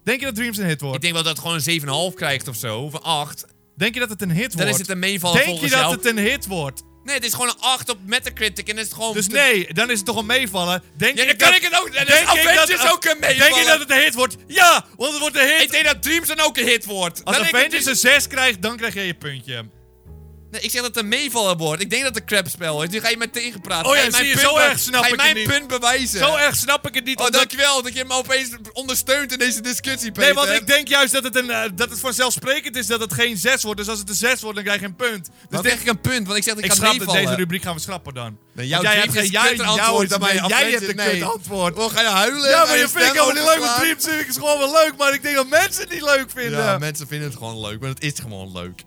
Denk je dat Dreams een hit wordt?
Ik denk wel dat het gewoon een 7,5 krijgt of zo. Of een 8.
Denk je dat het een hit
Dan
wordt?
is het een meevaller
Denk je
volgens
dat
jou.
het een hit wordt?
Nee, het is gewoon een 8 op Metacritic. En is het gewoon...
Dus
te-
nee, dan is het toch een meevallen. Denk
Ja,
je
dan kan ik het ook... Dan is Avengers ook een meevaller.
Denk je dat het een hit wordt? Ja, want het wordt een hit.
Ik denk dat Dreams dan ook een hit wordt.
Als
Dan denk ik dus-
Avengers een 6 krijgt, dan krijg jij je puntje.
Nee, ik zeg dat het een meevaller wordt. Ik denk dat het een crapspel is. Nu ga je me tegenpraten.
Oh ja,
Ga mijn
zie je,
punt
zo
be-
erg snap
Ga je
ik het
mijn
niet.
punt bewijzen.
Zo erg snap ik het niet.
eh, Oh,
omdat-
dankjewel dat je me opeens ondersteunt in deze discussie, Peter.
Nee, want ik denk juist dat het, een, eh, dat het vanzelfsprekend is dat het geen 6 wordt. Dus als het een 6 wordt, dan krijg je een punt. Dus
Dan
dit-
krijg ik een punt, want ik zeg dat ik,
ik
ga
schrap dat
meevallen.
deze rubriek gaan we schrappen dan.
Nee,
Want
jouw
jij
jij
hebt geen
jij,
jij,
kunt
jou
antwoord
is-
dan mijn
nee, Jij hebt een
nee.
kut antwoord.
Oh, ga je huilen?
Ja,
Ga
maar je vindt
stemmen
helemaal niet leuk. Want
overslaan?
Dreams vind ik is gewoon wel leuk, maar ik denk dat mensen het niet leuk vinden.
Ja, mensen vinden het gewoon leuk, maar het is gewoon leuk.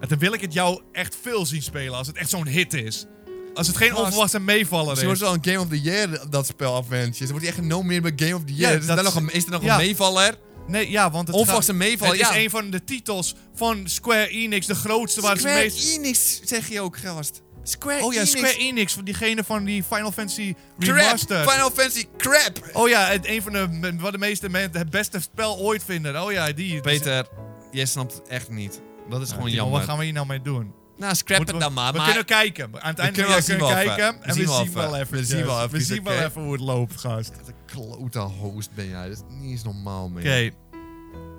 En dan wil ik het jou echt veel zien spelen als het echt zo'n hit is. Als het geen
Gast.
onverwachte meevaller
Misschien
is.
Dus wordt het wel een Game of the Year, dat spel Avengers. Dan wordt hij echt genomineerd bij Game of the Year.
Ja,
is,
dat
er nog
is-
een, is er nog
ja.
een meevaller?
Nee, ja, want het
Onverwachte
gaat-
meevaller,
Het
ja.
is een van de titels van Square Enix, de grootste waar ze
Square
meest...
Enix, zeg je ook, gast. Square
Oh ja,
Enix.
Square Enix, van diegene van die Final Fantasy
Crap.
Remastered.
Final Fantasy crap.
Oh ja, het, een van de, m- wat de meeste mensen het beste spel ooit vinden. Oh ja, die.
Peter, jij snapt het echt niet. Dat is
Ja,
gewoon
Timo,
jammer.
Wat gaan we hier nou mee doen?
Nou, scrap
Moeten
het
we-
dan maar.
We
maar
kunnen kijken. Aan het einde
kunnen
van
wel
het
zien
jaar
wel
kunnen
even.
kijken.
We
En
zien
we
wel
zien wel
even.
even.
We zien wel
We
even,
zien wel
oké.
even hoe het loopt, gast. Oké.
Wat een klote host ben jij. Dat is niet eens normaal, man.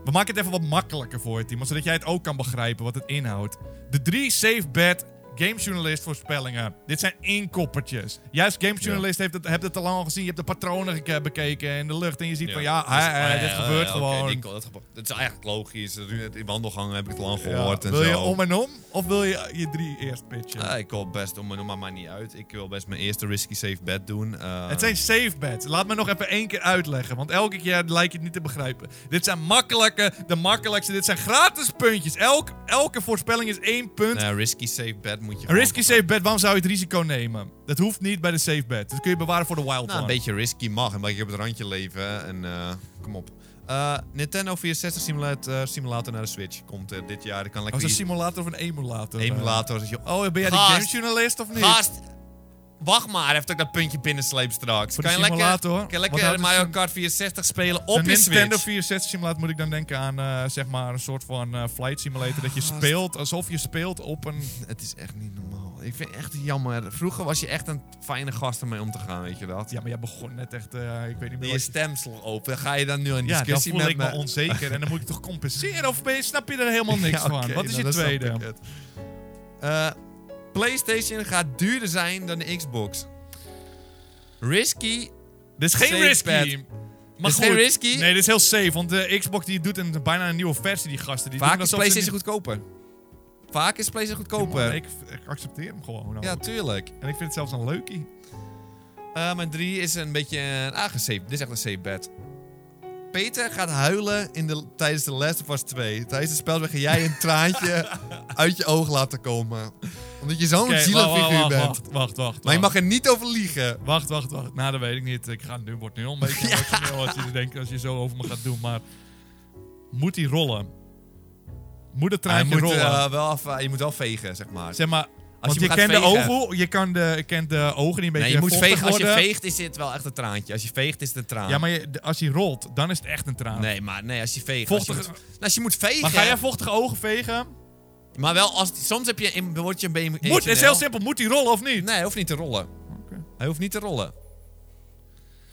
We maken het even wat makkelijker voor je, Timo. Zodat jij het ook kan begrijpen wat het inhoudt. De drie safe bet gamejournalist voorspellingen. Dit zijn inkoppertjes. Juist gamejournalist heeft het, hebt het al lang al gezien. Je hebt de patronen geke- bekeken in de lucht. En je ziet van ja,
Dus-
hè, hè,
Ah,
dit gebeurt gewoon.
Het is eigenlijk logisch. In wandelgangen heb ik het al lang
Ja,
gehoord en
wil je
zo.
om en om of wil je je drie eerst pitchen?
Ah, ik wil best om en om, maar maakt niet uit. Ik wil best mijn eerste risky safe bet doen. Eh,
het zijn safe bets. Laat me nog even één keer uitleggen, want elke keer lijkt je het niet te begrijpen. Dit zijn makkelijke, de makkelijkste. Dit zijn gratis puntjes. Elk, elke voorspelling is één punt.
nou, risky safe bet moet je
Een
gewoon-
risky safe bet, waarom zou je het risico nemen? Dat hoeft niet bij de safe bet. Dat kun je bewaren voor de wild
Nou,
one.
een beetje risky mag. Een beetje op het randje leven. En eh, kom op. Eh, Nintendo 64 simulator, simulator naar de Switch komt eh, dit jaar. Ik kan lekker
Als een
hier-
simulator of een emulator.
emulator. dat je-
Eh, Oh, ben jij de
Gast.
gamejournalist of niet?
Gast, wacht maar even dat ik dat puntje binnensleep straks.
Voor de
kan, je lekker,
simulator,
kan je
want dat
lekker
is
Mario
een-
Kart 64 spelen
Een
op je
Nintendo
Switch?
64 simulator moet ik dan denken aan eh, zeg maar een soort van eh, flight simulator. Dat je speelt alsof je speelt op een
Het is echt niet normaal. Ik vind het echt jammer. Vroeger was je echt een fijne gast om mee om te gaan, weet je dat?
Ja, maar jij begon net echt, eh, ik weet niet meer.
Je
wat je-
stem sloeg open. Ga je dan nu een
ja, dan
discussie
voel
met
ik me onzeker en dan moet ik toch compenseren of ben je, snap je er
[laughs]
helemaal niks
Ja, oké,
van? Wat is
nou,
je
dan snap ik
tweede?
het. Eh, PlayStation gaat duurder zijn dan de Xbox. Risky.
Dit is geen
Safe
risky.
bet.
Maar
Dit
goed.
is geen risky?
Nee, dit is heel safe, want de Xbox die doet een, bijna een nieuwe versie, die gasten. Die
Vaak
doen
is
alsof ze
PlayStation goedkoper. Vaak is PlayStation
niet-
goedkoper.
Man, ik, ik accepteer hem gewoon. al.
Ja, Oh, tuurlijk.
en ik vind het zelfs een leukie.
Eh, mijn drie is een beetje een aangezeep. Dit is echt een safe bet. Peter gaat huilen in de, tijdens de Last of Us 2. Tijdens het spel ga jij een
[laughs]
traantje uit je oog laten komen. Omdat je zo'n
Oké, wacht,
zielenfiguur
wacht,
bent.
Wacht, wacht, wacht.
Maar je mag
wacht.
er niet over liegen.
Wacht, wacht, wacht. Nou, dat weet ik niet. Ik ga nu, wordt nu al een
[laughs]
beetje emotioneel als je denkt, als je zo over me gaat doen. Maar moet die rollen? Moet het
Maar je
treintje
moet,
rollen?
eh, wel, af- je moet wel vegen, zeg maar.
Zeg maar, want
je
je,
hem gaat
kent de
vegen.
ogen, je kan de, kent de ogen die een beetje
nee, je moet
vochtig
vegen. Als je
worden.
veegt is het wel echt een traantje. Als je veegt is het een traan.
Ja, maar je- de- als hij rolt, dan is het echt een traan.
Nee, maar nee, als je veegt...
Vochtig-
Als je moet, nou, als je moet vegen...
Maar ga jij vochtige ogen vegen?
Maar wel, als, soms heb je in, word je een BM.
Moet, het is heel simpel. Moet die rollen of niet?
Nee, hij hoeft niet te rollen.
Oké.
Hij hoeft niet te rollen.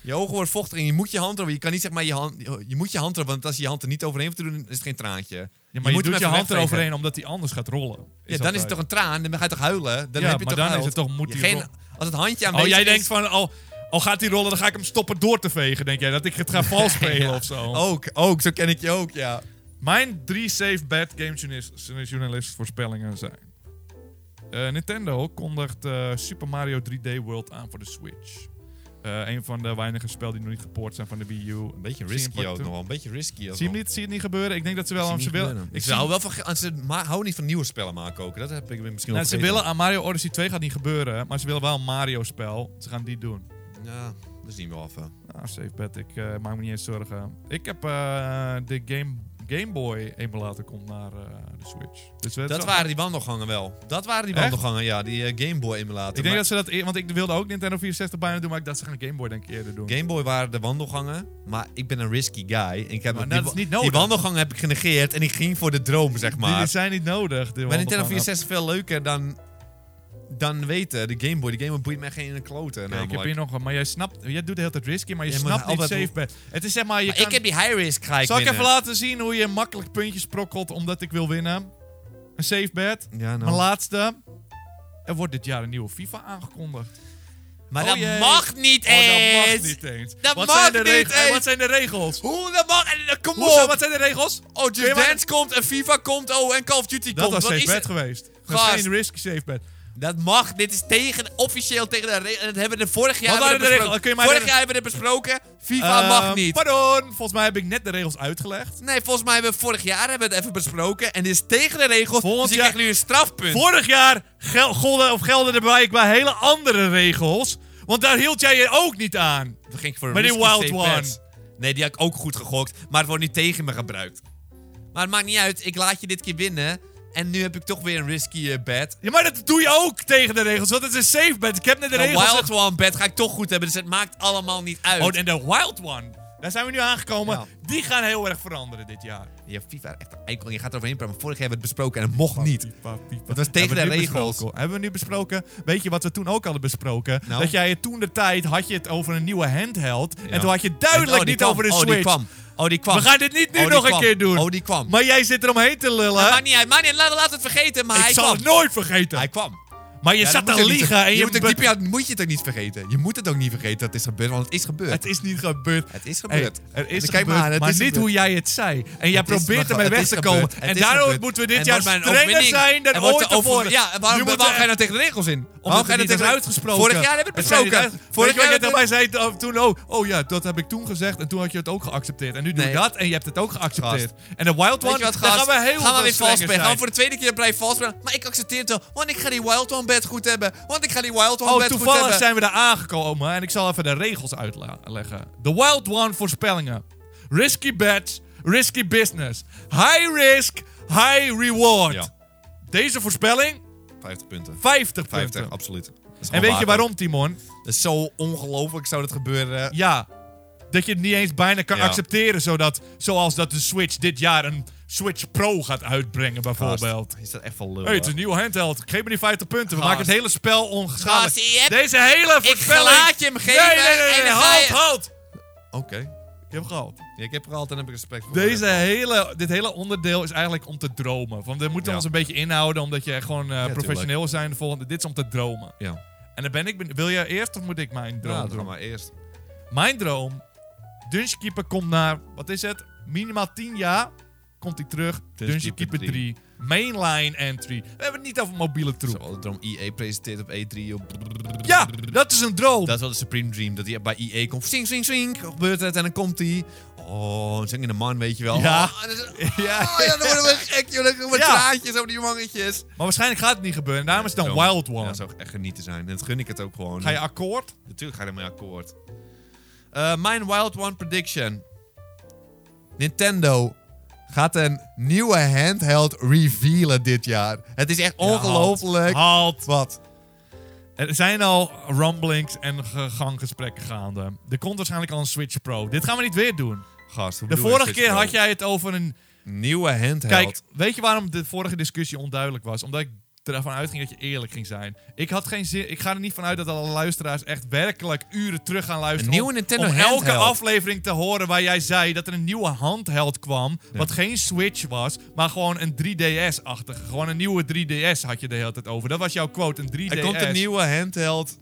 Je ogen worden vochtig en je moet je hand erop. Je kan niet zeg maar je hand. Je moet je hand erop, want als je je hand er niet overheen hoeft te doen, is het geen traantje.
Ja, maar je,
moet hem
doet je
even
hand
wegvegen.
eroverheen omdat die anders gaat rollen.
Ja, dan is het toch een traan. Dan ga je toch huilen. Dan
Ja,
heb je
maar
toch
dan is
gehuild.
het toch- moet
Je
die
geen,
rol-
Als het handje aan
Oh, jij
is,
denkt van, oh, oh, gaat die rollen, dan ga ik hem stoppen door te vegen, denk jij. Dat ik het
[laughs]
ga vals spelen
Ja, Oh.
of zo.
Ook, ook. Zo ken ik je ook, ja.
Mijn drie safe bad game journalis- journalist voorspellingen zijn. Eh, Nintendo kondigt eh, Super Mario 3D World aan voor de Switch. Eh, een van de weinige spel die nog niet gepoord zijn van de Wii U.
Een beetje
Zie je
risky
hem
ook
toe?
nog wel. Een beetje risky.
Zie
als
je hem
wel.
niet, zie je het niet gebeuren? Ik denk dat ze wel
Zie
aan ze
niet
willen.
gebeuren.
Ik
Ik
zie,
zou wel van... ge- Ze ma- houden niet van nieuwe spellen maken ook. Dat heb ik misschien wel
nou, ze
vergeten.
willen aan Mario Odyssey 2 gaat niet gebeuren, maar ze willen wel een Mario spel. Ze gaan die doen.
Ja, dat is niet meer af. hè.
Nou, safe bet. Ik eh, maak me niet eens zorgen. Ik heb eh, de Game, Game Boy emulator komt naar eh, de Switch. Dus we-
Dat
zo-
waren die wandelgangen wel. Dat waren die
Echt?
wandelgangen, ja. Die eh, Game Boy emulator.
Ik denk
Maar
dat ze dat... eer- Want ik wilde ook Nintendo 64 bijna doen, maar ik dacht ze gaan Game Boy denk ik eerder doen.
Game Boy waren de wandelgangen. Maar ik ben een risky guy. En ik heb
Maar
die,
dat is niet
Die
nodig.
wandelgangen heb ik genegeerd. En ik ging voor de droom, zeg
Die-
maar.
Die zijn niet nodig. de
Maar Nintendo
wandelgangen.
64 veel leuker dan, dan weten. De Game Boy. De Game Boy boeit mij geen klote.
Oké, ik heb hier nog een, maar jij snapt, jij doet de hele tijd risky, maar je
Ja, maar
snapt niet
altijd-
safe bet. Het is zeg maar, je
maar
kan,
ik heb die high risk ga ik
zal ik
winnen.
even laten zien hoe je makkelijk puntjes prokkelt omdat ik wil winnen. Een safe bet.
Ja, nou.
Mijn laatste. Er wordt dit jaar een nieuwe FIFA aangekondigd.
Maar
Oh
dat
jee.
mag niet
Oh, dat
eens.
mag niet eens.
Dat
wat
mag
zijn de
niet
regels?
eens.
Wat zijn de regels?
Hoe dat mag? en, eh, Kom
Hoezo,
op.
wat zijn de regels?
Oh,
Kun je
Just
maar-
Dance komt en FIFA komt. Oh, en Call of Duty
Dat
komt.
was
Wat
safe
is
bet
het?
geweest. Dat
Gast.
is geen risky safe bet.
Dat mag. Dit is tegen, officieel tegen de regels. Dat hebben we de vorig jaar,
waren
hebben we
de
dit
regels?
besproken.
Kun je mij
vorig
de-
jaar hebben we dit besproken. FIFA
Eh,
mag niet.
Pardon, volgens mij heb ik net de regels uitgelegd.
Nee, volgens mij hebben we vorig jaar hebben we het even besproken. En dit is tegen de regels.
Volgend
dus je
jaar-
krijgt nu een strafpunt.
Vorig jaar gel golden of gelden er blijkbaar hele andere regels. Want daar hield jij je ook niet aan.
Dan ging ik voor een
Maar die
risky
wild
safe
one.
bet. Nee, die had ik ook goed gegokt. Maar het wordt nu tegen me gebruikt. Maar het maakt niet uit. Ik laat je dit keer winnen. En nu heb ik toch weer een risky eh, bet.
Ja, maar dat doe je ook tegen de regels, want het is een safe bet. Ik heb net de
Een
regels...
Nou, wild one bet ga ik toch goed hebben. Dus het maakt allemaal niet uit.
Oh, en de wild one. Daar zijn we nu aangekomen.
Ja.
Die gaan heel erg veranderen dit jaar.
Ja, FIFA echt een eikel. Je gaat eroverheen praten. Maar vorig jaar hebben we het besproken en het mocht niet. Dat was tegen
Hebben we
de
nu
regels.
besproken? Hebben we nu besproken? Weet je wat we toen ook hadden besproken?
Nou?
Dat jij toen de tijd had je het over een nieuwe handheld.
Ja.
En toen had je duidelijk
En- oh, die
niet
kwam.
over de
Oh, die
Switch.
kwam. Oh, die kwam.
we gaan dit niet nu
Oh, die
nog een
kwam.
keer doen.
Oh, die kwam. Nou,
Maar jij zit er omheen te lullen.
Maar maakt niet uit. Maakt niet uit. Laten we laten we het vergeten. Maar
ik
hij
zal
kwam.
het nooit vergeten.
Hij kwam.
maar je
Ja,
zat
dat
te
moet je niet
liegen.
ver-
en
je
je
moet, ook
be-
diep in je- moet je het ook niet vergeten. Je moet het ook niet vergeten dat het is gebeurd, want het is gebeurd.
Het is niet gebeurd.
Het is
Hey,
gebeurd.
er is
Kijk
gebeurd,
maar aan, het
maar
is
niet
gebeurd.
hoe jij het zei. En jij
Het is
probeert
maar-
ermee
het
weg
is
te
gebeurd.
komen.
Het
En
is
daarom
gebeurd.
moeten we dit
En
jaar
wordt mijn
strenger
overwinning.
zijn dan
En wordt
ooit
de over-
tevoren.
Ja, en waarom,
Je moet
waarom
er-
ga je nou tegen de regels in? Waarom
Omdat
ga je
het
nou
niet is
tegen
uitgesproken.
Vorig jaar hebben we het besproken.
Vorig
Vorig
jaar
jaar
net
hebben
erbij zei oh, toen oh, oh ja, dat heb ik toen gezegd en toen had je het ook geaccepteerd. En nu doe je
Nee.
dat en je hebt het ook geaccepteerd. En de Wild
Weet
One,
je wat,
daar
gast?
gaan we heel
Gaan we
veel
weer vals
strenger
spelen. Gaan we
zijn.
voor de tweede keer blijven vals spelen. Maar ik accepteer het wel, want ik ga die Wild One bed goed hebben. Want ik ga die Wild One
Oh,
bed goed
toevallig
hebben.
zijn we daar aangekomen en ik zal even de regels uitleggen. De Wild One voorspellingen. Risky bets, risky business. High risk, high reward.
Ja.
Deze voorspelling,
50 punten.
50 punten.
50, absoluut. Dat is
en
gewoon
weet je
water.
waarom, Timon?
Dat is zo ongelooflijk zou dat gebeuren.
Ja, dat je het niet eens bijna kan
Ja.
accepteren. Zodat, zoals dat de Switch dit jaar een Switch Pro gaat uitbrengen, bijvoorbeeld.
Gast, Is dat echt wel lul.
Hé, hey, het
hè?
is een nieuwe handheld. Geef me die 50 punten. We
Gast.
maken het hele spel
Gast, je
ongeschadelijk.
hebt-
Deze hele voorspelling...
laat je hem geven
Nee, nee, nee, nee,
en dan ga
halt,
je-
halt.
Oké.
Ik heb gehaald.
Ja, ik heb er altijd heb ik respect voor.
Deze hele, dit hele onderdeel is eigenlijk om te dromen. Want we moeten
Ja.
ons een beetje inhouden, omdat je gewoon eh,
tuurlijk.
professioneel zijn. De volgende, dit is om te dromen.
Ja.
En dan ben ik... ben- Wil jij eerst of moet ik mijn droom
Ja,
doen?
doe maar eerst.
Mijn droom, Dungeonkeeper komt naar, wat is het? Minimaal 10 jaar komt hij terug. Dungeonkeeper 3.
Keeper
3. Mainline entry. We hebben het niet over mobiele troep.
Zo, de droom EA presenteert op E3. Op...
Ja, dat is een droom.
Dat is wel de Supreme Dream, dat hij bij EA komt. Swing, swing, swing. Gebeurt het en dan komt hij. Oh, een zingende man, weet je wel.
[laughs] Ja.
Oh, dat is- oh,
[laughs]
ja, dan worden we gek, joh. Dan komen
Ja.
traantjes over die mangetjes.
Maar waarschijnlijk gaat het niet gebeuren. En daarom is het een wild one.
Ja, dat zou echt genieten zijn. En dat gun ik het ook gewoon.
Ga je akkoord?
Natuurlijk ga je ermee akkoord. Eh, mijn Wild One prediction. Nintendo gaat een nieuwe handheld revealen dit jaar. Het is echt ongelooflijk.
Halt.
Wat?
Er zijn al rumblings en ge- ganggesprekken gaande. Er komt waarschijnlijk al een Switch Pro. Dit gaan we niet weer doen.
Gast, hoe
De
bedoel je
vorige
Switch
keer
Pro?
had jij het over een
Nieuwe handheld.
Kijk, weet je waarom de vorige discussie onduidelijk was? Omdat ik ervan uitging dat je eerlijk ging zijn. Ik had geen zin. Ik ga er niet van uit dat alle luisteraars echt werkelijk uren terug gaan luisteren.
Een nieuwe
om-
Nintendo
om elke
handheld.
aflevering te horen waar jij zei dat er een nieuwe handheld kwam. Wat geen Switch was, maar gewoon een 3DS-achtige. Gewoon een nieuwe 3DS had je de hele tijd over. Dat was jouw quote, een 3DS.
er komt een nieuwe handheld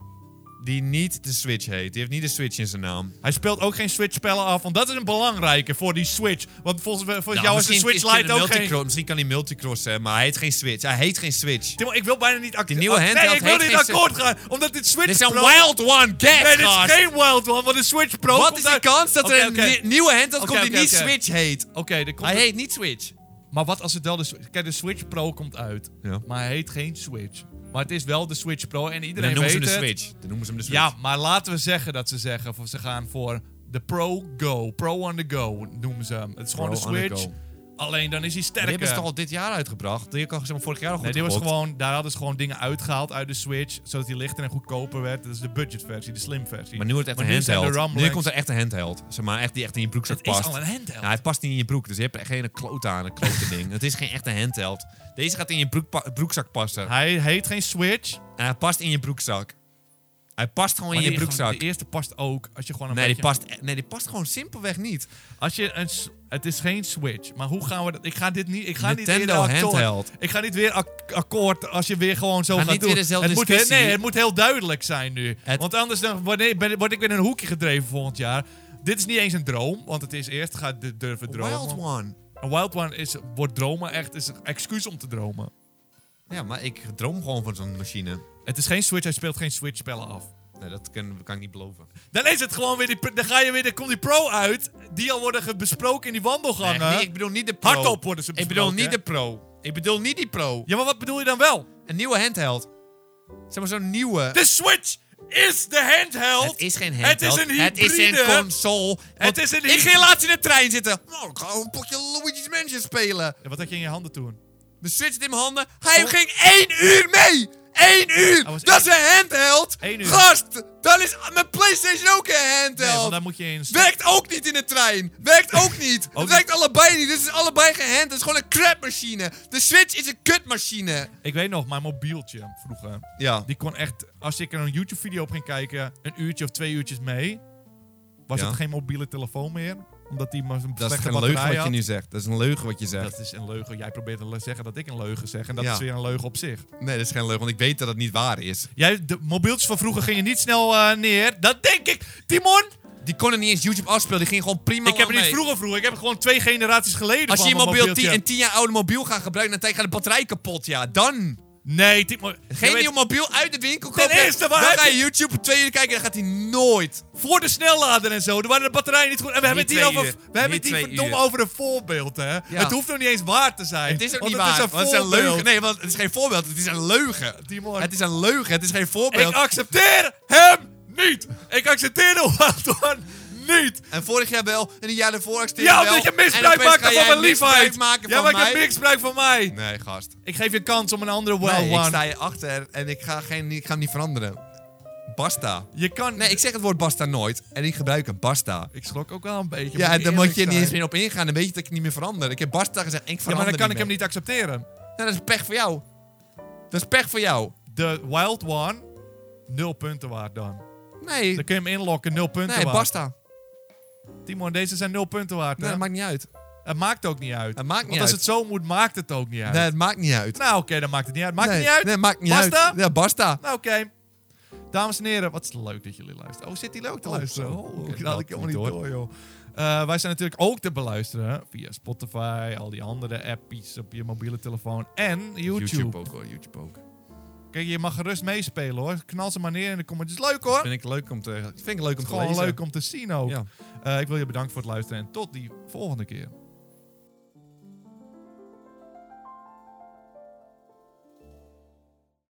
die niet de Switch heet. Die heeft niet de Switch in zijn naam.
Hij speelt ook geen Switch-spellen af, want dat is een belangrijke voor die Switch. Want volgens, volgens jou is de
misschien
Switch Lite
hij
ook geen...
multicross- Misschien kan hij multicross zijn, maar hij heet geen Switch. Hij heet geen Switch.
Timo, ik wil bijna niet akkoord.
Die nieuwe handheld
Nee, ik wil
heeft
niet
geen
akkoord gaan, omdat dit Switch
Dit is een
Pro-
Wild One
[laughs]
Get,
Nee, dit
gast.
is geen Wild One, want de Switch Pro
Wat
komt
is de
uit-
kans dat
Oké,
er een
oké.
nie- nieuwe handheld
Oké,
komt die
oké,
niet
oké.
Switch heet?
Oké, er komt
Hij
een-
heet niet Switch.
Maar wat als het wel de Switch... Kijk, de Switch Pro komt uit.
Ja.
Maar hij heet geen Switch. Maar het is wel de Switch Pro en
Dan
iedereen
noemen
weet
ze hem de
het.
Switch. Dan noemen ze hem de Switch.
Ja, maar laten we zeggen dat ze zeggen... Of ze gaan voor de Pro Go. Pro on the go noemen ze hem. Het is gewoon
Pro
de
on the
Switch.
go.
Alleen dan is hij
Maar
sterker.
die hebben ze toch al dit jaar uitgebracht? Die kan ze vorig jaar al goed
Nee, dit was
gekocht.
gewoon, daar hadden ze gewoon dingen uitgehaald uit de Switch, zodat die lichter en goedkoper werd. Dat is de budgetversie, de slim versie.
Maar nu wordt het echt
nu
een
zijn de
handheld. Nu
rumblings-
komt er echt een handheld. Zeg maar, echt die echt in je broekzak
Het
past.
is al een handheld.
Ja, het past niet in je broek, dus je hebt er geen klote aan, een klote [laughs] ding. Het is geen echte handheld. Deze gaat in je broek pa- broekzak passen.
Hij heet geen Switch.
En hij past in je broekzak. Hij past gewoon
maar
in Oh, je
die-
broekzak.
De eerste past ook. Als je gewoon een
nee, die
beetje-
past, e- nee, die past gewoon simpelweg niet.
Als je een, s- het is geen Switch. Maar hoe gaan we dat? Ik ga dit niet. Ik ga niet
Nintendo
weer akkoord-
handheld.
Ik ga niet weer ak- akkoord als je weer gewoon zo
Ga
gaat
niet
doen.
weer dezelfde
het moet, he-
discussie.
Nee, het moet heel duidelijk zijn nu.
Het-
Want anders dan word, ik, ben- word ik weer in een hoekje gedreven volgend jaar. Dit is niet eens een droom, want het is eerst ga d- durven dromen.
Wild One.
Een wild one is, wordt dromen echt is een excuus om te dromen.
Ja, maar ik droom gewoon van zo'n machine.
Het is geen Switch, hij speelt geen Switch-spellen af.
Nee, dat kan, kan ik niet beloven.
Dan is het gewoon weer die, pr- dan ga je weer, dan komt die pro uit, die al worden ge- besproken in die wandelgangen.
Nee, ik bedoel niet de pro.
Hardop worden ze
Ik bedoel
besproken,
niet de pro. Ik bedoel niet die pro.
Ja, maar wat bedoel je dan wel?
Een nieuwe handheld. Zeg maar zo'n nieuwe.
De Switch is de handheld.
Het is geen handheld.
Het is een hybride.
Het is een console. Want
is een
Ik
hybride.
ging laatst in de trein zitten. Nou, ik ga een potje Luigi's Mansion spelen.
Ja, wat had je in je handen toen?
De Switch zit in mijn handen. Hij ging één uur mee. Eén uur.
Oh. was
Dat is een handheld.
Eén uur.
Gast, dan is mijn Playstation ook een
Nee,
handheld.
want daar moet je eens...
Werkt ook niet in de trein. Werkt ook niet.
Ook
het werkt allebei niet. Dit is allebei gehand. Het is gewoon een crapmachine. De Switch is een kutmachine.
Ik weet nog, mijn mobieltje vroeger.
Ja.
Die kon echt, als ik er een YouTube-video op ging kijken, een uurtje of twee uurtjes mee. Was
Ja.
het geen mobiele telefoon meer? Omdat die maar een
Dat is
slechte
geen
batterij
leugen wat
had.
je nu zegt. Dat is een leugen wat je zegt.
Dat is een leugen. Jij probeert te le- zeggen dat ik een leugen zeg. En dat
Ja.
is weer een leugen op zich.
Nee, dat is geen leugen, want ik weet dat het niet waar is.
Jij, de mobieltjes van vroeger gingen niet snel eh, neer. Dat denk ik. Timon,
Die konden niet eens YouTube afspelen. Die ging gewoon prima
ik heb
lang
het niet
mee.
vroeger vroeger. Ik heb het gewoon twee generaties geleden
Als je
van
je
mijn
mobiel tien,
mobieltje.
een 10 jaar oude mobiel gaat gebruiken, dan gaat de batterij kapot. Ja, dan.
Nee, Timon.
Geen
je weet,
nieuw mobiel uit de winkel kopen.
eerste, waar
dan
heb
ga je
je-
YouTube twee uur kijken en dan gaat hij nooit.
Voor de snellader en zo. Er waren de batterijen niet goed. En we hebben het
Niet
hier
twee
over,
uur.
we hebben
Niet
het hier
twee
verdomme
uur.
over een voorbeeld, hè. Het hoeft nog niet eens waar te zijn.
Het is ook
Want
niet
het
waar.
Is een
want het is een
voorbeeld.
leugen. Nee, want het is geen voorbeeld. Het is een leugen.
Timon.
Het is een leugen. Het is geen voorbeeld.
Ik accepteer hem niet. Ik accepteer de [laughs] Wild One niet.
En vorig jaar wel. En een jaar daarvoor accepteerde
Ja,
wel.
omdat je
En
misbruik
opeens ga
maakte van
jij
mijn liefheid.
misbruik maken
Ja,
van
maar ik heb
mij.
misbruik van mij.
Nee, gast.
Ik geef je een kans om een andere Wild
nee, ik
One.
sta je achter en ik ga, geen, ik ga hem niet veranderen. Basta.
Je kan...
Nee, ik zeg het woord basta nooit. En ik gebruik hem basta.
Ik schrok ook wel een beetje.
Ja,
ik
dan moet
eerlijk
je er niet eens
zijn.
meer op ingaan. Dan weet je dat ik niet meer verander. Ik heb Basta gezegd en ik
Ja,
verander
maar dan kan ik hem
meer.
niet accepteren.
Ja, dat is pech voor jou. Dat is pech voor jou.
De Wild One, nul punten waard dan.
Nee,
Dan kun je hem inlokken, nul punten
nee
waard.
Basta.
Timon, deze zijn nul punten waard.
Nee,
hè?
dat maakt niet uit.
Het maakt ook niet uit.
Het maakt
Want
niet
als
uit.
het zo moet, maakt het ook niet uit.
Nee, het maakt niet uit.
Nou, oké, dan maakt het niet uit. Maakt
nee,
het niet uit?
Nee, maakt niet
Basta?
uit. Ja, Basta.
Nou, oké. Dames en heren, wat is leuk dat jullie luisteren. Oh, zit hij leuk te
Oh,
luisteren?
zo.
Oh,
Ik
dat
had
had
het
ik helemaal
niet
niet
door.
door, joh. Eh, wij zijn natuurlijk ook te beluisteren hè, via Spotify, al die andere appies op je mobiele telefoon en YouTube.
ook hoor, YouTube ook.
Kijk, je mag gerust meespelen hoor. Knal ze maar neer in de comments. Het is leuk hoor.
Vind ik leuk om te, vind ik leuk om
Het
te
is gewoon
lezen.
leuk om te zien ook.
Ja.
Eh, ik wil je bedanken voor het luisteren en tot die volgende keer.